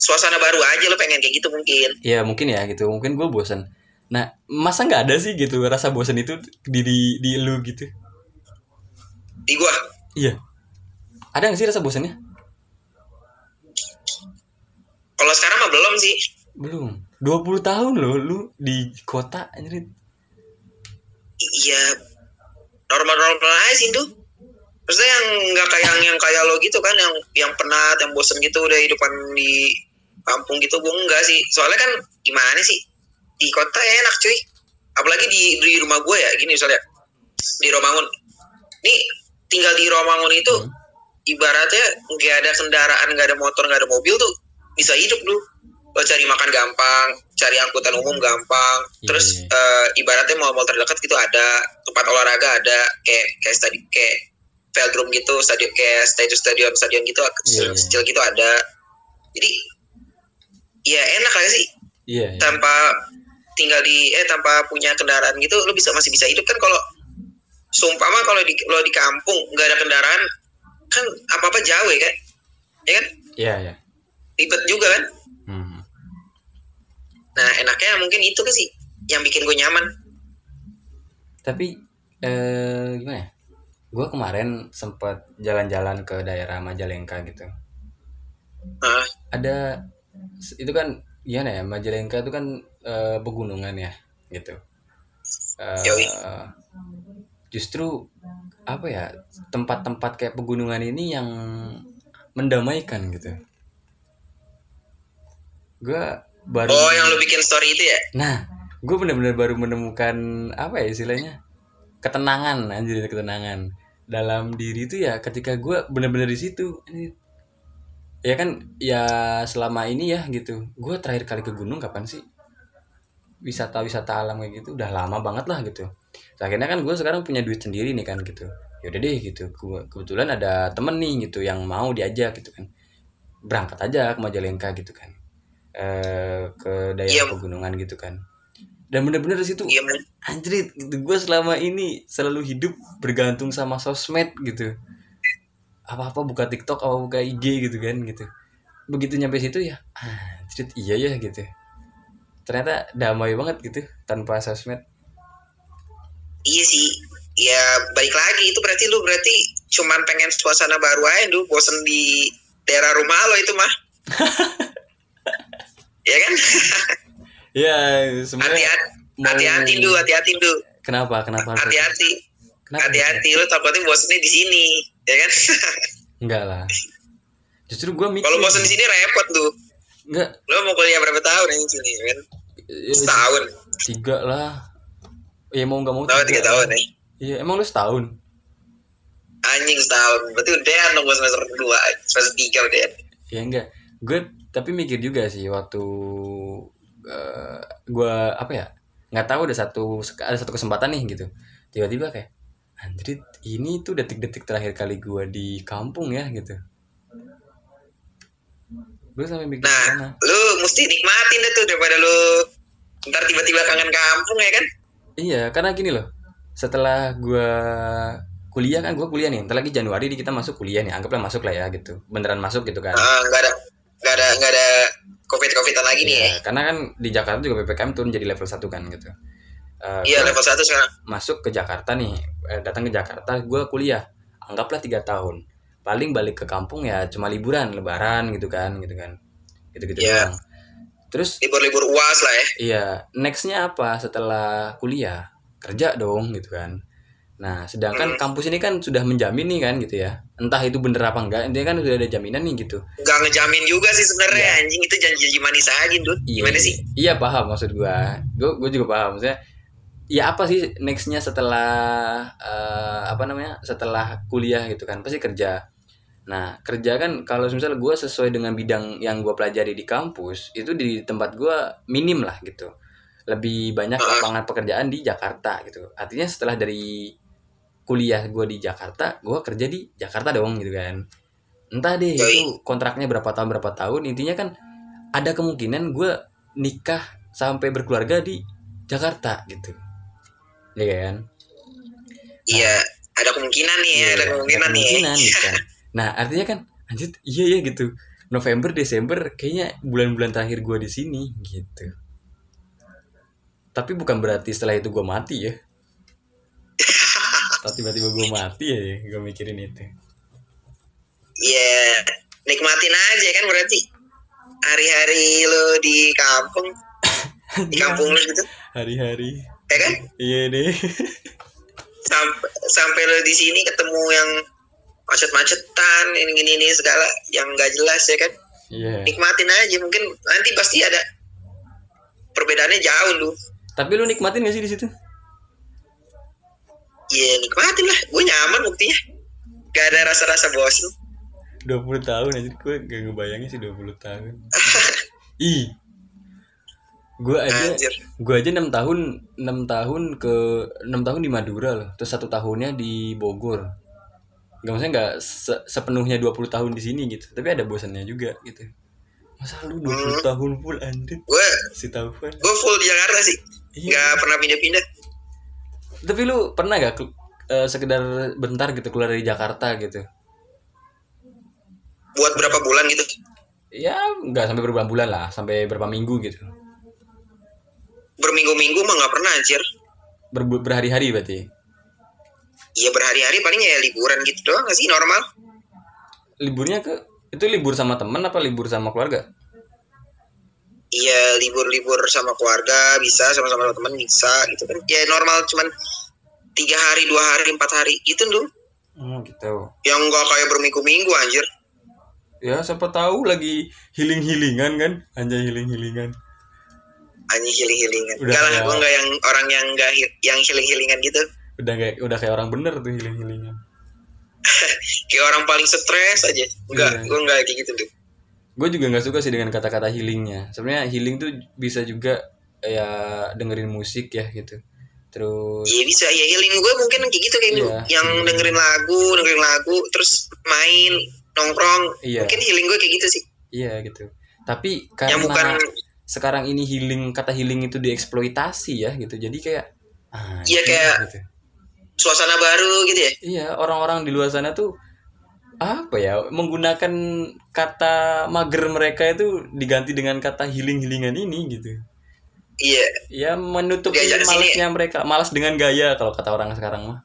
Speaker 2: suasana baru aja lu pengen kayak gitu mungkin.
Speaker 1: ya mungkin ya gitu mungkin gue bosan nah masa nggak ada sih gitu rasa bosan itu di di, di lu gitu
Speaker 2: Di gua
Speaker 1: iya ada nggak sih rasa bosannya
Speaker 2: kalau sekarang mah belum sih.
Speaker 1: belum 20 tahun loh lu di kota anjir
Speaker 2: I- Iya normal-normal aja sih Du. Maksudnya yang nggak kayak yang, yang kayak lo gitu kan yang yang penat, yang bosen gitu udah hidupan di kampung gitu gue enggak sih. Soalnya kan gimana sih? Di kota enak cuy. Apalagi di di rumah gue ya gini misalnya di Romangun. Nih tinggal di Romangun itu
Speaker 1: Hmm.
Speaker 2: ibaratnya nggak ada kendaraan, nggak ada motor, nggak ada mobil tuh bisa hidup lu. Lo cari makan gampang, cari angkutan umum gampang. Terus
Speaker 1: Iya.
Speaker 2: eh, ibaratnya mall-mall terdekat gitu ada, tempat olahraga ada, kayak kayak tadi kayak velodrome gitu, stadion kayak stadion stadion stadion gitu kecil,
Speaker 1: Iya.
Speaker 2: kecil gitu ada. Jadi ya enak lah sih
Speaker 1: iya iya.
Speaker 2: tanpa tinggal di eh tanpa punya kendaraan gitu lu bisa masih bisa hidup kan kalau sumpah mah kalau di lo di kampung nggak ada kendaraan kan apa apa jauh ya kan ya kan
Speaker 1: iya iya
Speaker 2: ribet juga kan
Speaker 1: Hmm.
Speaker 2: nah enaknya mungkin itu kan sih yang bikin gue nyaman
Speaker 1: tapi eh, gimana ya gue kemarin sempat jalan-jalan ke daerah Majalengka gitu
Speaker 2: nah,
Speaker 1: ada itu kan gimana ya Majalengka itu kan eh, pegunungan ya gitu Eh,
Speaker 2: Yoi.
Speaker 1: justru apa ya tempat-tempat kayak pegunungan ini yang mendamaikan gitu gue baru
Speaker 2: oh yang lu bikin story itu ya
Speaker 1: Nah, gue bener-bener baru menemukan apa ya istilahnya ketenangan anjir ketenangan dalam diri itu ya ketika gue bener-bener di situ Ini- ya kan ya selama ini ya gitu gue terakhir kali ke gunung kapan sih wisata-wisata alam kayak gitu udah lama banget lah gitu Terus akhirnya kan gue sekarang punya duit sendiri nih kan gitu yaudah deh gitu Gua- kebetulan ada temen nih gitu yang mau diajak gitu kan berangkat aja ke Majalengka gitu kan eh ke daerah
Speaker 2: Iya.
Speaker 1: pegunungan gitu kan dan bener-bener di situ
Speaker 2: iya men.
Speaker 1: anjrit gue selama ini selalu hidup bergantung sama sosmed gitu apa apa buka TikTok apa buka IG gitu kan gitu begitu nyampe situ ya anjrit iya ya gitu ternyata damai banget gitu tanpa sosmed
Speaker 2: iya sih ya balik lagi itu berarti lu berarti cuman pengen suasana baru aja lu bosen di daerah rumah lo itu mah ya kan
Speaker 1: ya sebenarnya
Speaker 2: hati-hati
Speaker 1: mau-
Speaker 2: hati-hati du hati-hati du
Speaker 1: kenapa kenapa harus-
Speaker 2: hati-hati
Speaker 1: kenapa
Speaker 2: hati-hati lu takutnya bosennya di sini ya kan
Speaker 1: enggak lah justru gue mikir
Speaker 2: kalau bosen di sini repot tuh
Speaker 1: enggak
Speaker 2: lu mau kuliah berapa tahun ini di sini ya kan
Speaker 1: eh,
Speaker 2: setahun
Speaker 1: tiga lah ya mau nggak mau
Speaker 2: tahun tiga tahun nih
Speaker 1: Iya, emang lu setahun
Speaker 2: anjing setahun berarti udah dong gua semester dua semester tiga udah
Speaker 1: Ya enggak. Gue tapi mikir juga sih waktu eh, gue apa ya? nggak tahu ada satu ada satu kesempatan nih gitu. Tiba-tiba kayak Andrit ini tuh detik-detik terakhir kali gue di kampung ya gitu. Gue sampai mikir
Speaker 2: nah
Speaker 1: sana.
Speaker 2: lu mesti nikmatin deh tuh daripada lu ntar tiba-tiba kangen kampung ya kan
Speaker 1: Iya, karena gini loh. Setelah gua kuliah kan gua kuliah nih. Ntar lagi Januari nih kita masuk kuliah nih. Anggaplah masuk lah ya gitu. Beneran masuk gitu kan.
Speaker 2: Ah, nggak ada covid covidan lagi nih ya
Speaker 1: Iya, karena kan di Jakarta juga PPKM turun jadi level 1 kan gitu. Eh,
Speaker 2: iya
Speaker 1: gua
Speaker 2: level satu sekarang
Speaker 1: masuk ke Jakarta nih, eh, datang ke Jakarta, gue kuliah, anggaplah tiga tahun. Paling balik ke kampung ya cuma liburan, lebaran gitu kan, gitu kan, gitu gitu
Speaker 2: Iya.
Speaker 1: doang. Terus
Speaker 2: libur-libur uas lah ya
Speaker 1: Iya, nextnya apa setelah kuliah? Kerja dong gitu kan. Nah, sedangkan
Speaker 2: Hmm.
Speaker 1: kampus ini kan sudah menjamin nih kan gitu ya. Entah itu bener apa enggak, dia kan sudah ada jaminan nih gitu.
Speaker 2: nggak ngejamin juga sih sebenarnya
Speaker 1: Iya.
Speaker 2: anjing itu janji-janji manis aja dud gimana sih
Speaker 1: Iya paham maksud gua. Gua, gua juga paham maksudnya. Ya apa sih nextnya setelah eh, apa namanya setelah kuliah gitu kan pasti kerja. Nah kerja kan kalau misalnya gua sesuai dengan bidang yang gua pelajari di kampus itu di tempat gua minim lah gitu. Lebih banyak
Speaker 2: Ah.
Speaker 1: lapangan pekerjaan di Jakarta gitu. Artinya setelah dari kuliah gua di Jakarta, gua kerja di Jakarta dong gitu kan. Entah deh
Speaker 2: Yoi.
Speaker 1: itu kontraknya berapa tahun berapa tahun intinya kan ada kemungkinan gue nikah sampai berkeluarga di Jakarta gitu ya kan
Speaker 2: iya ada kemungkinan nih ya
Speaker 1: Iya,
Speaker 2: ada kemungkinan nih ya.
Speaker 1: kemungkinan, gitu kan. nah artinya kan anjir iya ya gitu November Desember kayaknya bulan-bulan terakhir gue di sini gitu tapi bukan berarti setelah itu gue mati ya Atau tiba-tiba gue mati ya, ya gue mikirin itu
Speaker 2: iya nikmatin aja kan berarti hari-hari lo di kampung di
Speaker 1: Iya.
Speaker 2: kampung lo gitu
Speaker 1: hari-hari
Speaker 2: ya kan
Speaker 1: iya deh
Speaker 2: sampai sampai lo di sini ketemu yang macet-macetan ini ini ini segala yang nggak jelas ya kan
Speaker 1: iya
Speaker 2: nikmatin aja mungkin nanti pasti ada perbedaannya jauh lu
Speaker 1: tapi lu nikmatin gak sih di situ
Speaker 2: ya nikmatin lah gue nyaman buktinya gak ada rasa-rasa bosan
Speaker 1: 20 tahun aja gue gak ngebayangin sih 20 tahun ih gue aja
Speaker 2: anjir
Speaker 1: gue aja enam tahun enam tahun ke enam tahun di Madura loh terus satu tahunnya di Bogor nggak maksudnya nggak se- sepenuhnya 20 tahun di sini gitu tapi ada bosannya juga gitu masa lu 20
Speaker 2: Hmm.
Speaker 1: tahun full anjir
Speaker 2: gue
Speaker 1: si Taufan
Speaker 2: gue full di Jakarta sih nggak
Speaker 1: iya
Speaker 2: pernah pindah-pindah
Speaker 1: tapi lu pernah gak ke- eh, sekedar bentar gitu keluar dari Jakarta gitu
Speaker 2: buat berapa bulan gitu
Speaker 1: ya nggak sampai berbulan-bulan lah sampai berapa minggu gitu
Speaker 2: berminggu-minggu mah nggak pernah anjir
Speaker 1: Ber- berhari-hari berarti
Speaker 2: Iya berhari-hari paling ya liburan gitu doang gak sih normal
Speaker 1: liburnya ke itu libur sama teman apa libur sama keluarga
Speaker 2: Iya libur-libur sama keluarga bisa sama-sama sama teman bisa gitu kan ya normal cuman tiga hari dua hari empat hari gitu dong
Speaker 1: oh gitu
Speaker 2: yang nggak kayak berminggu-minggu anjir
Speaker 1: ya siapa tahu lagi healing healingan kan hanya healing healingan
Speaker 2: anjing healing healingan
Speaker 1: Udah
Speaker 2: enggak lah
Speaker 1: kayak-
Speaker 2: gue nggak yang orang yang nggak hi- yang healing healingan gitu
Speaker 1: udah kayak udah kayak orang bener tuh healing healingan
Speaker 2: kayak orang paling stres aja enggak
Speaker 1: Iya.
Speaker 2: gue nggak kayak gitu tuh
Speaker 1: gue juga nggak suka sih dengan kata-kata healingnya sebenarnya healing tuh bisa juga ya dengerin musik ya gitu terus
Speaker 2: iya bisa ya healing gue mungkin kayak gitu kayak
Speaker 1: Iya.
Speaker 2: lu. yang
Speaker 1: Hmm.
Speaker 2: dengerin lagu dengerin lagu terus main nongkrong
Speaker 1: iya
Speaker 2: mungkin healing gue kayak gitu sih
Speaker 1: iya gitu tapi
Speaker 2: yang Ya, bukan
Speaker 1: karena sekarang ini healing kata healing itu dieksploitasi ya gitu jadi kayak ah,
Speaker 2: Iya, kayak-
Speaker 1: gitu.
Speaker 2: suasana baru gitu ya
Speaker 1: Iya, orang-orang di luar sana tuh apa ya menggunakan kata mager mereka itu diganti dengan kata healing-healingan ini gitu.
Speaker 2: iya
Speaker 1: Ya menutup
Speaker 2: Gaya sini.
Speaker 1: malasnya mereka, malas dengan gaya kalau kata orang sekarang mah.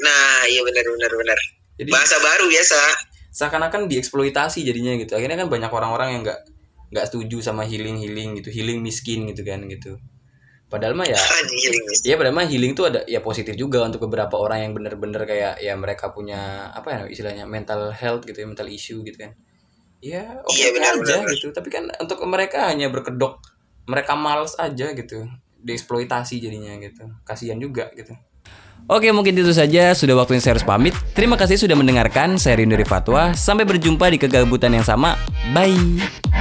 Speaker 2: nah iya benar benar benar
Speaker 1: Jadi
Speaker 2: bahasa baru biasa
Speaker 1: seakan-akan dieksploitasi jadinya gitu. Akhirnya kan banyak orang-orang yang nggak nggak setuju sama healing-healing gitu, healing miskin gitu kan gitu. Padahal mah ya
Speaker 2: anjing healing mis-
Speaker 1: Iya, padahal mah healing tuh ada ya positif juga untuk beberapa orang yang bener-bener kayak ya mereka punya apa ya istilahnya mental health gitu ya, mental issue gitu kan. Ya, oke
Speaker 2: Iya, benar,
Speaker 1: aja
Speaker 2: benar.
Speaker 1: gitu. Tapi kan untuk mereka hanya berkedok, mereka males aja gitu. Dieksploitasi jadinya gitu. Kasihan juga gitu. Oke, mungkin itu saja. Sudah waktunya saya harus pamit. Terima kasih sudah mendengarkan. Saya Rindu Fatwa. Sampai berjumpa di kegabutan yang sama. Bye.